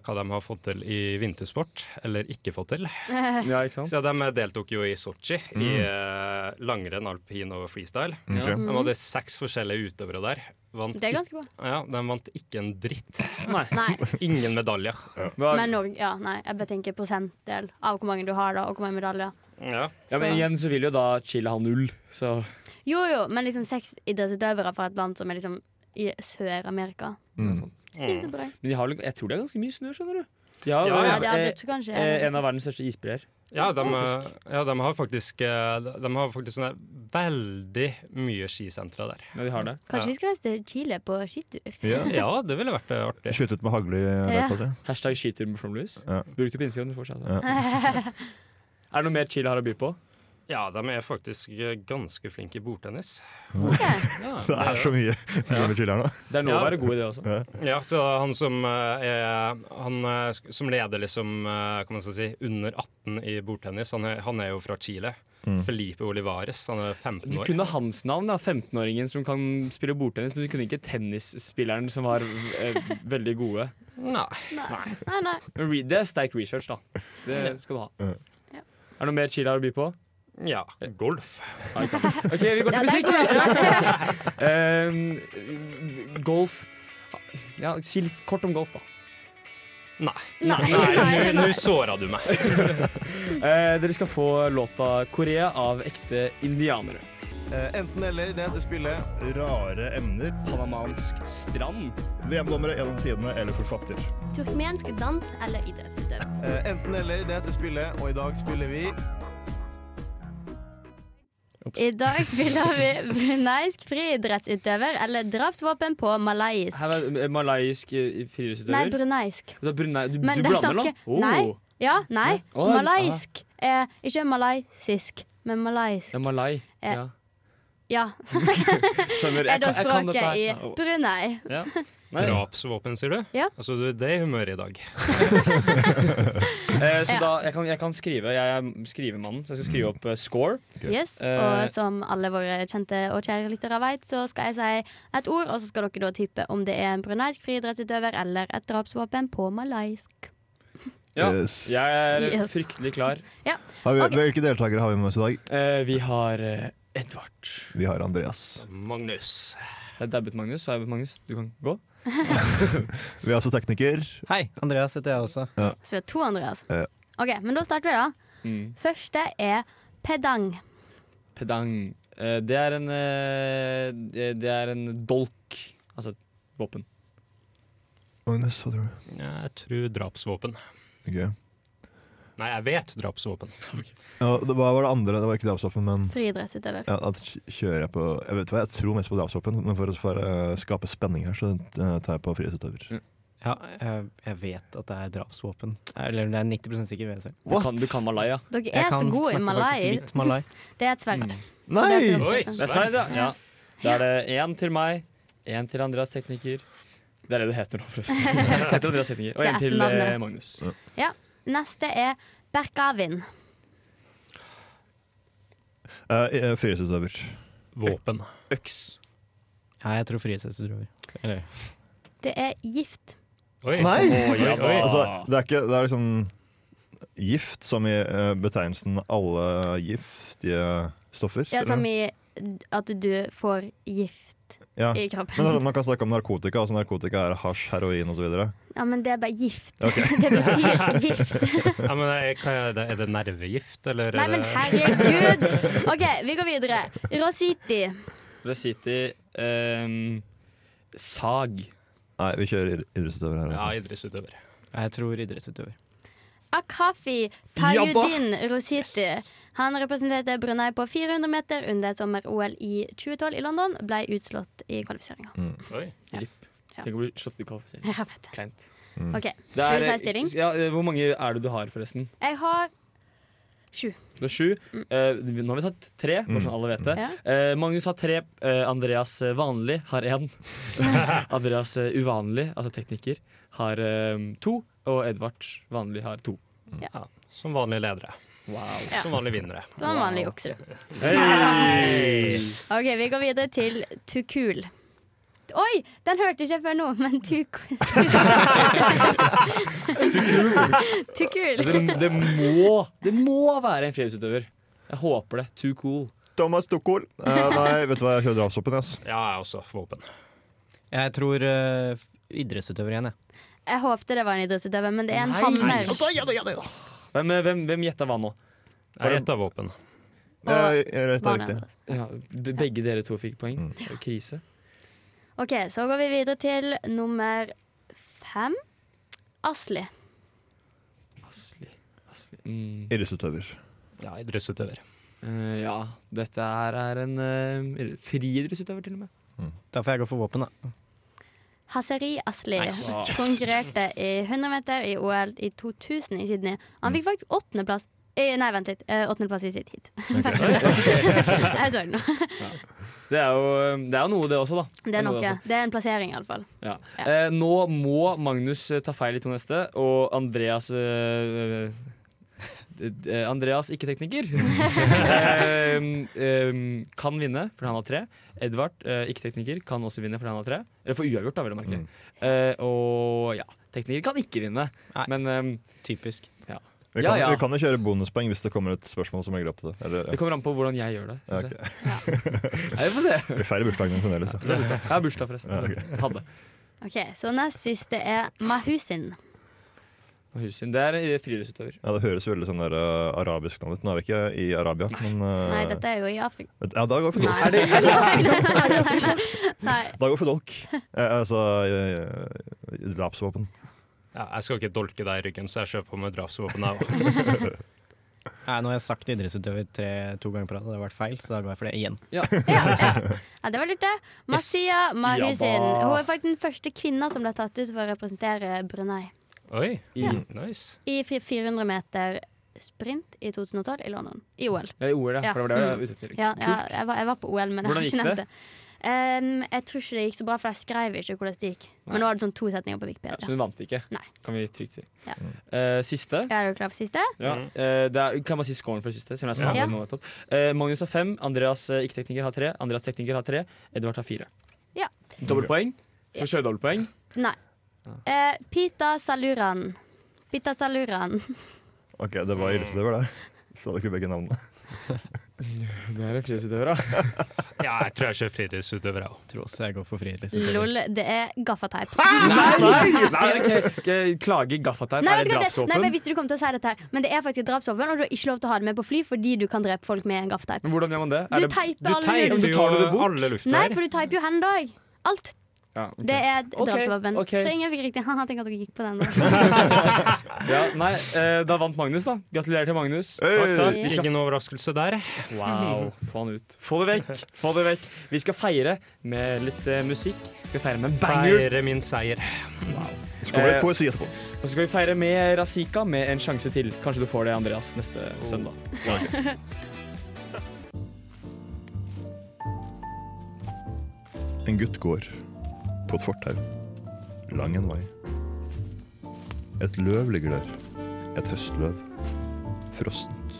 [SPEAKER 8] hva de har fått til i vintersport, eller ikke fått til.
[SPEAKER 4] Ja, ikke
[SPEAKER 6] Sånn.
[SPEAKER 4] sant?
[SPEAKER 8] Så De deltok jo i Sotsji, i
[SPEAKER 6] Mm.
[SPEAKER 8] eh, langrenn, alpin og freestyle.
[SPEAKER 6] Ok.
[SPEAKER 8] De hadde seks forskjellige utøvere der. Vant
[SPEAKER 5] Det er ganske bra.
[SPEAKER 8] ik- ja, de vant ikke en dritt.
[SPEAKER 4] Nei.
[SPEAKER 5] Nei,
[SPEAKER 8] Ingen medaljer.
[SPEAKER 4] Hva-
[SPEAKER 5] men Norge Ja, nei, jeg bare tenker prosentdel av hvor mange du har, da, og hvor mange medaljer.
[SPEAKER 8] Ja.
[SPEAKER 4] ja, men igjen så vil jo da Chile ha null, så
[SPEAKER 5] Jo jo, men liksom seks idrettsutøvere fra et land som er liksom i Sør-Amerika.
[SPEAKER 6] Mm.
[SPEAKER 5] Sykt bra.
[SPEAKER 4] Men de har, vel- jeg tror det er ganske mye snø, skjønner du. De har,
[SPEAKER 8] Ja, ja.
[SPEAKER 5] Ja, det hadde
[SPEAKER 4] eh,
[SPEAKER 5] du kanskje.
[SPEAKER 4] eh, en av verdens største isbreer.
[SPEAKER 8] Ja, de, ja, de har faktisk eh, De har faktisk sånne veldig mye skisentre der.
[SPEAKER 4] Ja, de har det.
[SPEAKER 5] Kanskje vi skal reise til Chile på skitur?
[SPEAKER 6] Ja.
[SPEAKER 8] Ja, det ville vært eh, artig.
[SPEAKER 6] Skyte ut med hagle i
[SPEAKER 5] Ja.
[SPEAKER 6] løpet av det.
[SPEAKER 4] Hashtag skitur med flomlys.
[SPEAKER 6] Ja.
[SPEAKER 4] Bruk det på Instagram. du får se det.
[SPEAKER 6] Ja.
[SPEAKER 4] Er det noe mer Chile har å by på?
[SPEAKER 8] Ja, de er faktisk eh, ganske flinke i bordtennis.
[SPEAKER 6] Det er så mye mye med chili her nå.
[SPEAKER 4] Det er noe å
[SPEAKER 8] Ja.
[SPEAKER 4] være god i det også.
[SPEAKER 8] Ja, så han som eh, er Han eh, sk- som leder liksom eh, hva man skal si, under 18 i bordtennis, han er, han er jo fra Chile. Felipe Olivares. Han er 15
[SPEAKER 4] Du
[SPEAKER 8] år.
[SPEAKER 4] kunne hans navn, da. 15-åringen som kan spille bordtennis, men du kunne ikke tennisspilleren som var eh, veldig gode.
[SPEAKER 8] Nei.
[SPEAKER 5] Nei, nei. nei.
[SPEAKER 4] Men re- Det er sterk research, da. Det skal du ha.
[SPEAKER 5] Ja.
[SPEAKER 4] Er det noe mer Chile har å by på?
[SPEAKER 8] Ja, golf.
[SPEAKER 4] OK, vi går til
[SPEAKER 5] Ja, det er
[SPEAKER 4] musikk!
[SPEAKER 5] godt.
[SPEAKER 4] Eh, golf Ja, si litt kort om golf, da.
[SPEAKER 8] Nei.
[SPEAKER 5] Nei,
[SPEAKER 8] Nei,
[SPEAKER 5] nei,
[SPEAKER 8] Nå
[SPEAKER 5] nei.
[SPEAKER 8] såra du meg.
[SPEAKER 4] Eh, dere skal få låta 'Korea' av ekte indianere.
[SPEAKER 6] Eh, Enten eller, det heter spillet. Rare emner.
[SPEAKER 4] Panamansk strand.
[SPEAKER 6] VM-dommere gjennom tidene eller forfatter.
[SPEAKER 5] Turkmensk dans eller idrettsutøver?
[SPEAKER 6] Eh, Enten eller, det heter spillet, og i dag spiller vi
[SPEAKER 5] I dag spiller vi bruneisk friidrettsutøver eller drapsvåpen på malaysisk.
[SPEAKER 4] Her er eh, malaysisk eh,
[SPEAKER 5] Nei,
[SPEAKER 4] friidrettsutøver.
[SPEAKER 5] bruneisk.
[SPEAKER 4] Det er Brunei. Du,
[SPEAKER 5] Men
[SPEAKER 4] du
[SPEAKER 5] det
[SPEAKER 4] blander
[SPEAKER 5] snakker-
[SPEAKER 4] land? Oh.
[SPEAKER 5] Nei. Ja, nei.
[SPEAKER 4] Oi.
[SPEAKER 5] Malaysk. Eh, ikke malaysisk, men malaysisk.
[SPEAKER 4] Det er malai.
[SPEAKER 5] Eh,
[SPEAKER 4] Ja.
[SPEAKER 5] Ja,
[SPEAKER 4] Skjønner.
[SPEAKER 5] er da
[SPEAKER 4] kan- kan dette
[SPEAKER 5] språket
[SPEAKER 4] her.
[SPEAKER 5] i Brunei.
[SPEAKER 4] Ja. Nei.
[SPEAKER 8] Drapsvåpen, sier du?
[SPEAKER 5] Ja.
[SPEAKER 8] Altså, du er i det humøret i dag.
[SPEAKER 4] Eh, så
[SPEAKER 5] Ja.
[SPEAKER 4] da, jeg kan, jeg kan skrive. Jeg er skrivemannen, så jeg skal skrive opp eh, score.
[SPEAKER 5] Yes,
[SPEAKER 4] Eh.
[SPEAKER 5] og som alle våre kjente og kjære lyttere vet, så skal jeg si et ord, og så skal dere da tippe om det er en bruneisk friidrettsutøver eller et drapsvåpen på malaysk.
[SPEAKER 4] Ja.
[SPEAKER 6] Yes.
[SPEAKER 4] Jeg er
[SPEAKER 5] Yes.
[SPEAKER 4] fryktelig klar.
[SPEAKER 6] Har vi,
[SPEAKER 5] Ok.
[SPEAKER 6] Hvilke deltakere har vi med oss i dag?
[SPEAKER 4] Eh, vi har eh, Edvard.
[SPEAKER 6] Vi har Andreas.
[SPEAKER 8] Magnus.
[SPEAKER 4] Det er dabbet Magnus. Så er det Magnus, du kan gå.
[SPEAKER 6] Vi er altså tekniker.
[SPEAKER 10] Hei, Andreas heter jeg også.
[SPEAKER 5] Så vi har to Andreas.
[SPEAKER 6] Ja.
[SPEAKER 5] Ok, men da starter vi, da.
[SPEAKER 4] Mm.
[SPEAKER 5] Første er pedang.
[SPEAKER 4] Pedang. Eh, det er en eh, det, det er en dolk. Altså et våpen.
[SPEAKER 6] Magnus, hva tror du?
[SPEAKER 8] Jeg tror drapsvåpen.
[SPEAKER 6] Ok.
[SPEAKER 8] Nei, jeg vet drapsvåpen.
[SPEAKER 6] Ja, det, hva var det andre? Det var ikke drapsvåpen, men
[SPEAKER 5] Friidrettsutøver.
[SPEAKER 6] ja, da kj- kjører jeg på Jeg vet hva, jeg tror mest på drapsvåpen, men for å for, å skape spenning her, så eh, tar jeg på frihetsutøver.
[SPEAKER 10] Ja, jeg, Eh, jeg vet at det er drapsvåpen. Eller det er 90 sikker ved det selv.
[SPEAKER 4] Du kan, du kan malaya.
[SPEAKER 5] Dere
[SPEAKER 10] Jeg
[SPEAKER 5] er så
[SPEAKER 10] kan
[SPEAKER 5] gode i
[SPEAKER 10] snakke
[SPEAKER 5] malai.
[SPEAKER 10] faktisk litt malai.
[SPEAKER 5] Det er et sverd.
[SPEAKER 6] Mm. Nei!
[SPEAKER 8] Oi,
[SPEAKER 4] Det er sverd, ja. ja. Da er det én til meg, én til Andreas tekniker. Det er det det heter nå, forresten. Det heter Andreas tekniker, Og
[SPEAKER 5] Det er
[SPEAKER 4] én til
[SPEAKER 5] etternavnet.
[SPEAKER 4] eh, Magnus.
[SPEAKER 5] Neste er berkavin.
[SPEAKER 6] Eh, eh, Frihetsutøver.
[SPEAKER 8] Våpen.
[SPEAKER 4] Øks.
[SPEAKER 10] Ja, jeg tror frihetsutøver. Eller
[SPEAKER 5] Det er gift.
[SPEAKER 8] Oi.
[SPEAKER 6] Nei!
[SPEAKER 4] Å, ja, da.
[SPEAKER 6] Altså, det er ikke Det er liksom gift, som i eh, betegnelsen alle giftige stoffer.
[SPEAKER 5] Ja, som
[SPEAKER 6] eller?
[SPEAKER 5] i at du får gift
[SPEAKER 6] ja.
[SPEAKER 5] i
[SPEAKER 6] Men altså,
[SPEAKER 5] kroppen.
[SPEAKER 6] Man kan snakke om narkotika. Altså narkotika er hasj, heroin osv.
[SPEAKER 5] Ja, men det er bare gift.
[SPEAKER 6] Ok.
[SPEAKER 5] Det betyr gift.
[SPEAKER 8] Ja, men er, hva er, det, er det nervegift, eller
[SPEAKER 5] Nei,
[SPEAKER 8] er
[SPEAKER 5] men
[SPEAKER 8] det-
[SPEAKER 5] herregud! OK, vi går videre. Rositi.
[SPEAKER 4] Reciti ehm, Sag.
[SPEAKER 6] Nei, vi kjører id- idrettsutøver her.
[SPEAKER 8] Ja,
[SPEAKER 6] Altså.
[SPEAKER 8] idrettsutøver.
[SPEAKER 10] jeg tror idrettsutøver.
[SPEAKER 5] Akafi Tayudin Rositi. Han representerte Brunei på 400 meter under sommer-OL i 2012 i London. Ble utslått i kvalifiseringa.
[SPEAKER 8] Oi.
[SPEAKER 5] Ja.
[SPEAKER 4] Tenk å bli slått i kvalifisering.
[SPEAKER 5] Jeg vet det.
[SPEAKER 4] Kleint.
[SPEAKER 5] OK.
[SPEAKER 4] Det
[SPEAKER 5] Skal vi si stilling?
[SPEAKER 4] ja, eh, hvor mange er det du har, forresten?
[SPEAKER 5] Jeg har sju.
[SPEAKER 4] Du har sju. Eh, nå har vi tatt tre, bare sånn alle vet det.
[SPEAKER 5] Ja.
[SPEAKER 4] Eh, Magnus har tre. eh, Andreas eh, vanlig har én. Andreas eh, uvanlig, altså tekniker, har eh, to. Og Edvard vanlig har to.
[SPEAKER 8] Ja, som vanlige ledere.
[SPEAKER 4] Wow.
[SPEAKER 5] Ja.
[SPEAKER 8] Som vanlige vinnere.
[SPEAKER 5] Så han vanlig jukser. du. OK, vi går videre til Tukul. Oi! Den hørte ikke jeg før nå, men Tukul Tukul.
[SPEAKER 4] Altså, Det, det, må, det må være en frihetsutøver. Jeg håper det. Too cool.
[SPEAKER 6] Thomas Dukkol. Eh, nei, vet du hva, jeg kjører drapsvåpen. Yes.
[SPEAKER 8] Ja, jeg er også våpen.
[SPEAKER 10] Jeg tror eh, f- idrettsutøver igjen, jeg.
[SPEAKER 5] Jeg håpte det var en idrettsutøver, men det er en hammer.
[SPEAKER 4] Hvem, eh, hvem, hvem gjetta hva nå?
[SPEAKER 8] Jeg gjetter våpen.
[SPEAKER 6] Jeg, jeg, jeg,
[SPEAKER 5] Barne-
[SPEAKER 6] riktig.
[SPEAKER 4] Ja, be- begge dere to fikk poeng. Det er jo Krise.
[SPEAKER 5] OK, så går vi videre til nummer fem. Asli.
[SPEAKER 4] Asli, Asli. Mm.
[SPEAKER 6] Idrettsutøver.
[SPEAKER 8] Ja, idrettsutøver.
[SPEAKER 4] Eh, ja, dette her er en uh, friidrettsutøver, til og med.
[SPEAKER 10] Da får jeg gå for våpen, da.
[SPEAKER 5] Haseri Asli konkurrerte i 100 meter i OL i 2000 i Sydney. Han fikk faktisk åttendeplass eh, Nei, vent litt. eh, Åttendeplass i sitt heat. jeg så det nå.
[SPEAKER 4] Det er jo eh, det er jo noe, det også, da.
[SPEAKER 5] Det er
[SPEAKER 4] noe,
[SPEAKER 5] noe.
[SPEAKER 4] også.
[SPEAKER 5] Det er en plassering, iallfall.
[SPEAKER 4] Ja.
[SPEAKER 5] Ja.
[SPEAKER 4] Eh, nå må Magnus eh, ta feil i to neste, og Andreas eh, eh, eh, Andreas, ikke tekniker, eh, eh, kan vinne fordi han har tre. Edvard, eh, ikke tekniker, kan også vinne fordi han har tre. Eller for uavgjort, da, vil jeg merke. Eh, og ja, tekniker kan ikke vinne,
[SPEAKER 10] Nei.
[SPEAKER 4] men eh,
[SPEAKER 10] Typisk.
[SPEAKER 6] Vi
[SPEAKER 4] Ja,
[SPEAKER 6] kan,
[SPEAKER 4] ja.
[SPEAKER 6] vi kan jo kjøre bonuspoeng hvis det kommer et spørsmål som legger opp til det. Eller,
[SPEAKER 4] det kommer an på hvordan jeg gjør det.
[SPEAKER 6] ja,
[SPEAKER 4] synes jeg.
[SPEAKER 6] ok.
[SPEAKER 4] Nei, vi får se.
[SPEAKER 6] Vi feirer bursdagen din fremdeles.
[SPEAKER 4] Det er bursdag. Jeg har bursdag, forresten. Hadde.
[SPEAKER 5] OK, så nest siste er Mahusin.
[SPEAKER 4] Og Husin. Det er eh, friidrettsutøver.
[SPEAKER 6] Ja, det høres jo veldig sånn der, eh, arabisk navn ut. Nå er vi ikke i Arabia, men eh,
[SPEAKER 5] Nei, dette er jo i Afrika.
[SPEAKER 6] vet- Ja, da går vi for dolk.
[SPEAKER 5] Nei, nei, nei, nei, nei, nei. nei.
[SPEAKER 6] Da går vi for dolk. Eh, altså eh, drapsvåpen.
[SPEAKER 8] Ja, jeg skal ikke dolke deg i ryggen, så jeg kjøper på med drapsvåpen. jeg også.
[SPEAKER 10] Nei, nå har jeg sagt idrettsutøver tre, to ganger på rad, og det har vært feil, så da går jeg for det igjen.
[SPEAKER 5] Ja, ja. ja, det var lurt, det. Masia Mahusin.
[SPEAKER 4] Jabba.
[SPEAKER 5] Hun er faktisk den første kvinna som ble tatt ut for å representere Brunei
[SPEAKER 8] Oi,
[SPEAKER 4] Ja.
[SPEAKER 8] nice.
[SPEAKER 5] i fri- 400 meter sprint i 2012 i London. I OL.
[SPEAKER 4] Ja, i OL, ja. For det var det jeg var ute etter.
[SPEAKER 5] Ja, ja, jeg, var, jeg var på OL, men jeg
[SPEAKER 4] Hvordan
[SPEAKER 5] har
[SPEAKER 4] gikk
[SPEAKER 5] ikke nevnt det. Em, jeg tror ikke det gikk så bra, for jeg skrev ikke hvordan det gikk. Men nå var det sånn to setninger på Wikipedia.
[SPEAKER 4] Så hun vant ikke,
[SPEAKER 5] Nei.
[SPEAKER 4] kan vi trygt si.
[SPEAKER 5] Ja.
[SPEAKER 4] Eh, siste.
[SPEAKER 5] Ja, Er du klar for siste?
[SPEAKER 4] Ja. eh, det er, kan man si scoren for det siste? Siden jeg sa
[SPEAKER 5] Ja.
[SPEAKER 4] det nå nettopp. Eh, Magnus har fem, Andreas eh, ikke-tekniker har tre, Andreas tekniker har tre, Edvard har fire.
[SPEAKER 5] Ja.
[SPEAKER 4] Dobbeltpoeng. For sjødobbeltpoeng.
[SPEAKER 5] Nei. Eh, Pita Saluran. Pita Saluran.
[SPEAKER 6] Ok, det var idrettsutøver, det. Så hadde ikke begge navnene.
[SPEAKER 4] Det er en frihetsutøver, da.
[SPEAKER 8] Ja, jeg tror jeg kjører friidrettsutøver, jeg òg.
[SPEAKER 10] Tror også jeg går for friidrettsutøver.
[SPEAKER 5] Lol, det er gaffateip.
[SPEAKER 4] Nei! Nei, ok. Eh, Klage gaffateip
[SPEAKER 5] Nei,
[SPEAKER 4] er
[SPEAKER 5] vet
[SPEAKER 4] et
[SPEAKER 5] du hva det er? Nei, men jeg
[SPEAKER 4] drapsvåpen.
[SPEAKER 5] visste du kom til å si dette her, men det er faktisk et drapsvåpen, og du har ikke lov til å ha det med på fly fordi du kan drepe folk med en gaffateip.
[SPEAKER 4] Men hvordan gjør man det?
[SPEAKER 5] Du
[SPEAKER 4] Er det
[SPEAKER 5] teiper
[SPEAKER 4] du
[SPEAKER 5] alle
[SPEAKER 4] teiper
[SPEAKER 5] rullene.
[SPEAKER 4] jo tar du det bort?
[SPEAKER 8] alle
[SPEAKER 5] Nei,
[SPEAKER 8] luftgreier.
[SPEAKER 5] for du teiper jo hendene òg. Alt.
[SPEAKER 4] Ja, ok.
[SPEAKER 5] Det er et
[SPEAKER 4] Ok,
[SPEAKER 5] drapsvåpen.
[SPEAKER 4] ok.
[SPEAKER 5] Så ingen fikk riktig. Haha, tenk at dere gikk på den.
[SPEAKER 4] ja, nei, eh, da vant Magnus, da. Gratulerer til Magnus.
[SPEAKER 8] Takk, takk.
[SPEAKER 5] Ja.
[SPEAKER 8] Ingen overraskelse der.
[SPEAKER 4] Wow, få han ut. Få det vekk! Få det vekk. Vi skal feire med litt eh, musikk. Vi skal feire med en banger.
[SPEAKER 8] Feire min seier.
[SPEAKER 6] Så kommer det
[SPEAKER 4] Eh,
[SPEAKER 6] litt poesi etterpå.
[SPEAKER 4] Og så skal vi feire med Razika med en sjanse til. Kanskje du får det, Andreas, neste søndag.
[SPEAKER 6] En gutt går på et fortau. Lang en vei. Et løv ligger der. Et høstløv. Frossent.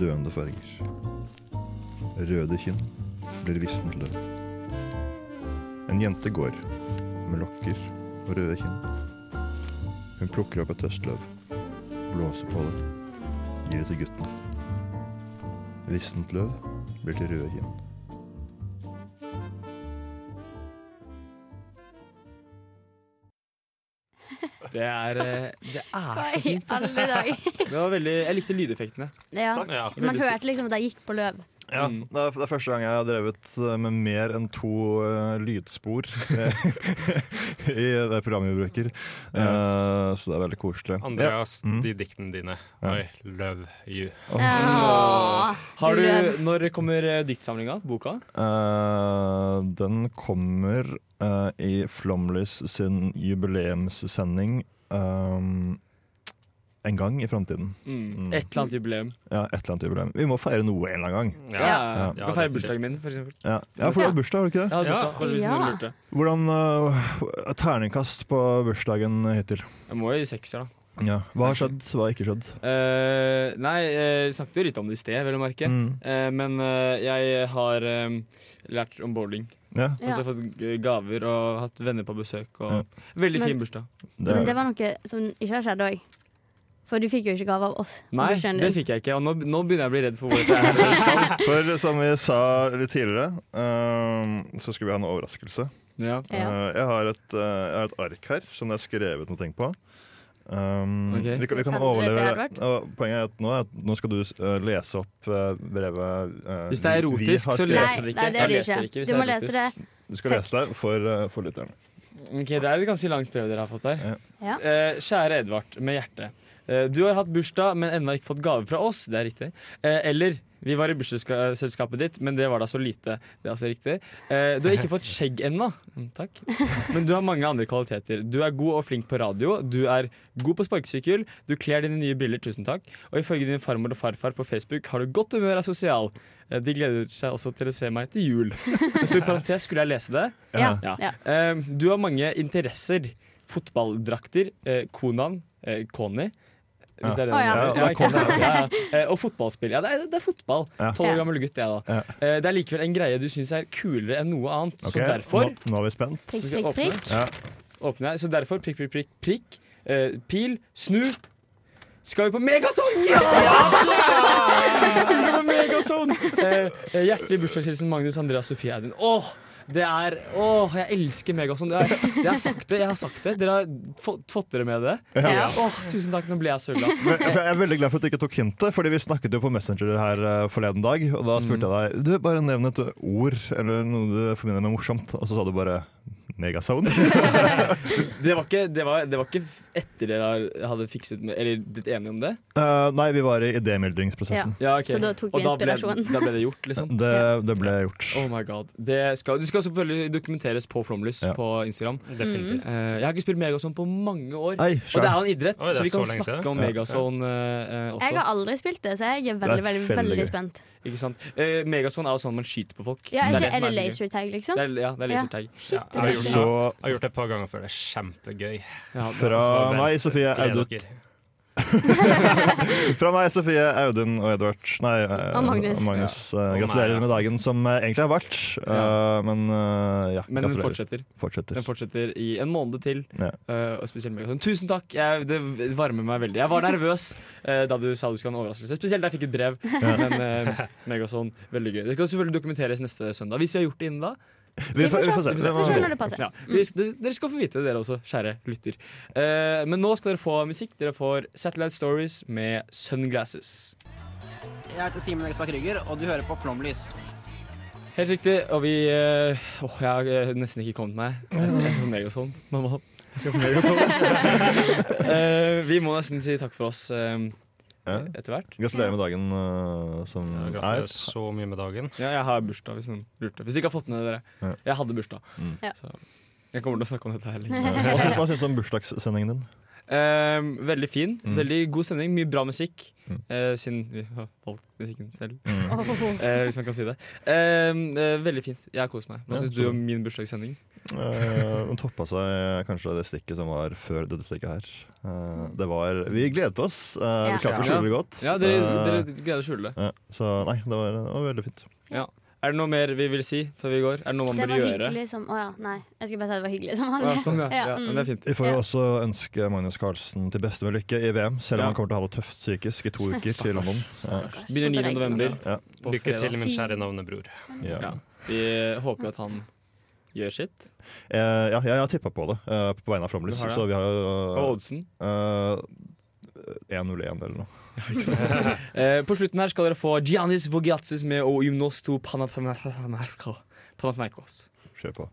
[SPEAKER 6] Døende farger. Røde kinn blir vistent løv. En jente går med lokker og røde kinn. Hun plukker opp et høstløv, blåser på det, gir det til gutten. Vistent løv blir til røde kinn.
[SPEAKER 4] Det er, eh, det er så
[SPEAKER 5] I
[SPEAKER 4] fint.
[SPEAKER 5] alle dager.
[SPEAKER 4] Det var veldig, jeg likte lydeffektene.
[SPEAKER 5] Ja.
[SPEAKER 8] Ja.
[SPEAKER 5] Man hørte liksom at de gikk på løv.
[SPEAKER 6] Ja, det er, det er første gang jeg har drevet eh, med mer enn to eh, lydspor i det programmet vi bruker. Eh, så det er veldig koselig. Ja.
[SPEAKER 8] Andreas, de diktene dine. I love you.
[SPEAKER 5] Åh.
[SPEAKER 4] Har du, når kommer eh, diktsamlinga? Boka?
[SPEAKER 6] Eh, den kommer eh, i Flomlys sin jubileumssending eh, en gang i framtiden.
[SPEAKER 4] Mm. Et eller annet jubileum.
[SPEAKER 6] Ja, et eller annet jubileum. Vi må feire noe en eller annen gang.
[SPEAKER 4] Ja, ja.
[SPEAKER 6] Ja.
[SPEAKER 4] Du kan feire bursdagen min, for eksempel.
[SPEAKER 6] Ja, ja for du har bursdag, har du ikke
[SPEAKER 4] Jeg
[SPEAKER 6] det?
[SPEAKER 4] hadde
[SPEAKER 8] Ja.
[SPEAKER 4] bursdag. bare hvis
[SPEAKER 5] Ja.
[SPEAKER 4] noen lurte.
[SPEAKER 6] Hvordan eh, Terningkast på bursdagen hittil.
[SPEAKER 4] Jeg må jo i sekser, da.
[SPEAKER 6] Hva har skjedd, hva har ikke skjedd?
[SPEAKER 4] Eh, nei, eh, vi snakket jo litt om det i sted, vel å merke.
[SPEAKER 6] Mm.
[SPEAKER 4] Eh, men eh, jeg har eh, lært om bowling.
[SPEAKER 6] Ja,
[SPEAKER 4] Og så har Altså, jeg fått g- gaver og hatt venner på besøk. Og Veldig
[SPEAKER 5] Men-
[SPEAKER 4] fin bursdag.
[SPEAKER 6] det
[SPEAKER 5] Men
[SPEAKER 6] er
[SPEAKER 5] det var noe som ikke har skjedd òg. For du fikk jo ikke gave av oss. som
[SPEAKER 4] Nei,
[SPEAKER 5] du skjønner.
[SPEAKER 4] det fikk jeg ikke. Og nå, nå begynner jeg å bli redd for hvor det er.
[SPEAKER 6] For som vi sa litt tidligere, eh, så skulle vi ha en overraskelse.
[SPEAKER 4] Ja.
[SPEAKER 5] Ja.
[SPEAKER 6] Eh, jeg, har et, eh, jeg har et ark her som det er skrevet noe ting på. Um,
[SPEAKER 4] Ok.
[SPEAKER 6] vi, kan- vi kan
[SPEAKER 5] Kan du lese
[SPEAKER 6] overleve
[SPEAKER 5] det, Edvard?
[SPEAKER 6] og Poenget er at nå, er at nå skal du eh, lese opp eh, brevet eh,
[SPEAKER 4] Hvis det er
[SPEAKER 6] vi- vi
[SPEAKER 4] erotisk,
[SPEAKER 6] har
[SPEAKER 4] så
[SPEAKER 6] skrevet.
[SPEAKER 4] leser
[SPEAKER 5] Nei,
[SPEAKER 4] du ikke.
[SPEAKER 5] nei, det
[SPEAKER 4] Jeg
[SPEAKER 5] er det
[SPEAKER 4] leser ikke
[SPEAKER 5] ikke.
[SPEAKER 4] hvis
[SPEAKER 5] Du
[SPEAKER 4] jeg
[SPEAKER 5] må
[SPEAKER 4] er
[SPEAKER 5] lese det.
[SPEAKER 6] Du skal lese det for, eh, for lytterne.
[SPEAKER 4] Ok, Det er et ganske langt brev dere har fått her.
[SPEAKER 5] Ja.
[SPEAKER 4] Eh, kjære Edvard med hjerte. Eh, du har hatt bursdag, men ennå ikke fått gave fra oss. Det er riktig. Eh, eller vi var i bursdagsselskapet ditt, men det var da så lite. Det er også riktig. Eh, du har ikke fått skjegg ennå. Mm, takk. Men du har mange andre kvaliteter. Du er god og flink på radio. Du er god på sparkesykkel. Du kler dine nye briller. Tusen takk. Og ifølge din farmor og farfar på Facebook har du godt humør og er sosial. Eh, de gleder seg også til å se meg til jul. Det sto i parentes, skulle jeg lese det?
[SPEAKER 5] Ja.
[SPEAKER 4] Ja.
[SPEAKER 5] Ja.
[SPEAKER 4] Eh, du har mange interesser. Fotballdrakter, eh, konaen, eh, Kony hvis det er det
[SPEAKER 5] Å,
[SPEAKER 4] du
[SPEAKER 5] ja.
[SPEAKER 4] mener.
[SPEAKER 6] Ja,
[SPEAKER 4] Ja, ikke sant? ja, ja. Eh, Og fotballspill. Ja, det er, det er fotball. Tolv år
[SPEAKER 5] Ja.
[SPEAKER 4] gammel gutt, jeg, da. Eh, Det er likevel en greie du syns er kulere enn noe annet,
[SPEAKER 6] Ok,
[SPEAKER 4] så derfor
[SPEAKER 6] nå, nå er vi spent.
[SPEAKER 5] Prikk,
[SPEAKER 4] Skal jeg
[SPEAKER 5] prikk,
[SPEAKER 4] åpne?
[SPEAKER 5] prikk.
[SPEAKER 4] åpner jeg. Så derfor prikk, prikk, prikk, prikk. Eh, pil, snu. Skal vi på Megazone? Ja! Vi skal på Megazone! Eh, eh, hjertelig bursdagshilsen Magnus Andreas Sofie Eidun. Åh, det er Åh, jeg elsker Megazone. Jeg, jeg har sagt det. jeg har sagt det Dere har fått, fått dere med det.
[SPEAKER 5] Ja.
[SPEAKER 4] Åh, tusen takk. Nå ble jeg så glad.
[SPEAKER 6] Men, for jeg er veldig glad for at du ikke tok hintet, Fordi vi snakket jo på Messenger her eh, forleden dag. Og da spurte
[SPEAKER 4] Mm.
[SPEAKER 6] jeg deg Du bare nevn et ord eller noe du forbinder med morsomt. Og så sa du bare Megazone.
[SPEAKER 4] Det var ikke, det var, det var ikke etter dere har- hadde fikset med, Eller blitt enige om det?
[SPEAKER 6] Eh, nei, vi var i idémyldringsprosessen.
[SPEAKER 4] Ja, ok.
[SPEAKER 5] Så da tok vi
[SPEAKER 4] Og Da
[SPEAKER 5] inspirasjon.
[SPEAKER 4] ble, da ble det gjort, liksom?
[SPEAKER 6] Det, det ble gjort.
[SPEAKER 4] Oh my god. Det skal, det skal selvfølgelig dokumenteres på Flomlys
[SPEAKER 6] Ja.
[SPEAKER 4] på Instagram.
[SPEAKER 8] Definitivt.
[SPEAKER 4] Eh, jeg har ikke spilt Megazone på mange år.
[SPEAKER 6] Nei,
[SPEAKER 4] og det er jo en idrett,
[SPEAKER 8] Oi, det er
[SPEAKER 4] så vi kan
[SPEAKER 8] så lenge
[SPEAKER 4] snakke
[SPEAKER 8] siden.
[SPEAKER 4] om Megazone eh, eh,
[SPEAKER 5] Jeg
[SPEAKER 4] også.
[SPEAKER 5] har aldri spilt det, så jeg er veldig, veldig,
[SPEAKER 6] veldig
[SPEAKER 5] veldig
[SPEAKER 6] gøy.
[SPEAKER 5] spent.
[SPEAKER 4] Ikke sant? Eh, Megazone er jo sånn man skyter på folk.
[SPEAKER 5] Ja, er, ikke,
[SPEAKER 4] som
[SPEAKER 5] er det
[SPEAKER 4] så gøy.
[SPEAKER 5] laser tag, liksom?
[SPEAKER 4] Det er, ja, det er
[SPEAKER 5] Ja.
[SPEAKER 4] lasertag.
[SPEAKER 5] Shit,
[SPEAKER 8] Ja,
[SPEAKER 5] det
[SPEAKER 8] jeg
[SPEAKER 5] er
[SPEAKER 8] har
[SPEAKER 5] veldig
[SPEAKER 8] gjort
[SPEAKER 5] bra.
[SPEAKER 6] Så
[SPEAKER 8] Jeg har gjort det et par ganger før. Det er kjempegøy.
[SPEAKER 4] Ja,
[SPEAKER 6] fra meg, Sofie
[SPEAKER 8] Gleder
[SPEAKER 6] Audun,
[SPEAKER 8] dere.
[SPEAKER 6] fra meg, Sofie, Audun og Edvard Nei, eh,
[SPEAKER 5] Og Magnus.
[SPEAKER 6] eh,
[SPEAKER 8] Og meg,
[SPEAKER 6] gratulerer
[SPEAKER 8] ja.
[SPEAKER 6] med dagen som eh, egentlig har vært. eh,
[SPEAKER 4] Ja.
[SPEAKER 6] Men eh, ja,
[SPEAKER 4] Men den
[SPEAKER 6] gratulerer.
[SPEAKER 4] fortsetter.
[SPEAKER 6] Fortsetter.
[SPEAKER 4] Den fortsetter i en måned til.
[SPEAKER 6] Ja.
[SPEAKER 4] eh, og spesielt Megazone. Tusen takk! Jeg, det varmer meg veldig. Jeg var nervøs eh, da du sa du skulle ha en overraskelse. Spesielt da jeg fikk et brev. Men eh, Megazone, veldig gøy. Det skal selvfølgelig dokumenteres neste søndag. Hvis vi har gjort det innen da.
[SPEAKER 6] Vi, får, vi får se.
[SPEAKER 5] Vi får se når det passer.
[SPEAKER 4] Ja, vi, sk- dere skal få vite det, dere også, kjære lytter. Eh, men nå skal dere få musikk. Dere får Satellite Stories med Sunglasses.
[SPEAKER 11] Jeg heter Simen Egstad Krüger, og du hører på Flomlys.
[SPEAKER 4] Helt riktig. Og vi eh, Åh, jeg har eh, nesten ikke kommet meg. Jeg skal- Jeg skal på Megazone, sånn, mamma. Jeg skal på Megazone. Eh, vi må nesten si takk for oss eh,
[SPEAKER 6] Ja.
[SPEAKER 4] etter hvert.
[SPEAKER 6] Gratulerer med dagen eh, som
[SPEAKER 8] Ja,
[SPEAKER 6] er.
[SPEAKER 8] Gratulerer så mye med dagen.
[SPEAKER 4] Ja, jeg har bursdag, hvis noen lurte. Hvis dere ikke har fått med dere.
[SPEAKER 6] Ja.
[SPEAKER 4] Jeg hadde bursdag.
[SPEAKER 6] Mm.
[SPEAKER 5] Ja.
[SPEAKER 4] Så jeg kommer til å snakke om dette her lenge.
[SPEAKER 6] Eh, Hva syns- Hva syns du om bursdagssendingen din?
[SPEAKER 4] Eh, veldig fin.
[SPEAKER 6] Mm.
[SPEAKER 4] Veldig god stemning. Mye bra musikk.
[SPEAKER 6] Mm.
[SPEAKER 4] eh, siden vi har valgt musikken selv,
[SPEAKER 5] Åh.
[SPEAKER 4] eh, hvis man kan si det. Eh, eh, veldig fint. Jeg har kost meg. Hva
[SPEAKER 6] Ja,
[SPEAKER 4] syns
[SPEAKER 6] så
[SPEAKER 4] du
[SPEAKER 6] bra.
[SPEAKER 4] om min bursdagssending?
[SPEAKER 6] Eh, Den toppa seg eh, kanskje det stikket som var før dette stikket her. Eh, det var Vi gledet oss. eh,
[SPEAKER 5] Ja.
[SPEAKER 6] Vi klarte å skjule det godt.
[SPEAKER 4] Ja, dere,
[SPEAKER 6] Eh,
[SPEAKER 4] dere greier å skjule det.
[SPEAKER 6] ja, så nei, det var, det var veldig fint.
[SPEAKER 4] Er det noe mer vi vil si før vi går? Er det noe man
[SPEAKER 5] Det
[SPEAKER 4] bør
[SPEAKER 5] var
[SPEAKER 4] gjøre?
[SPEAKER 5] hyggelig som Å ja, nei. Jeg skulle bare si det var hyggelig som
[SPEAKER 4] Ja,
[SPEAKER 5] vanlig.
[SPEAKER 4] sånn, ja.
[SPEAKER 5] Ja,
[SPEAKER 4] ja.
[SPEAKER 5] mm.
[SPEAKER 4] Men det er fint.
[SPEAKER 6] Vi får
[SPEAKER 5] Ja.
[SPEAKER 6] jo også ønske Magnus Carlsen til beste med lykke i VM, selv om
[SPEAKER 4] Ja.
[SPEAKER 6] han kommer til å ha det tøft psykisk i to uker til London. Ja.
[SPEAKER 5] Stakkars.
[SPEAKER 4] Begynner 9.
[SPEAKER 5] Måtte regne
[SPEAKER 4] november.
[SPEAKER 6] Ja.
[SPEAKER 4] På
[SPEAKER 8] Lykke til,
[SPEAKER 4] fredag.
[SPEAKER 8] min kjære navnebror.
[SPEAKER 6] Ja.
[SPEAKER 4] Ja. Vi håper at han gjør sitt.
[SPEAKER 6] Eh, ja, jeg har tippa på det eh, på vegne av Flomlys,
[SPEAKER 4] Du har det?
[SPEAKER 6] så vi har jo
[SPEAKER 4] Og oddsen.
[SPEAKER 6] eh, 1-0-1 eller noe.
[SPEAKER 4] Eh, på slutten her skal dere få Giannis Vogiatsis med O Gymnos to Panathinaikos.
[SPEAKER 6] Kjør på.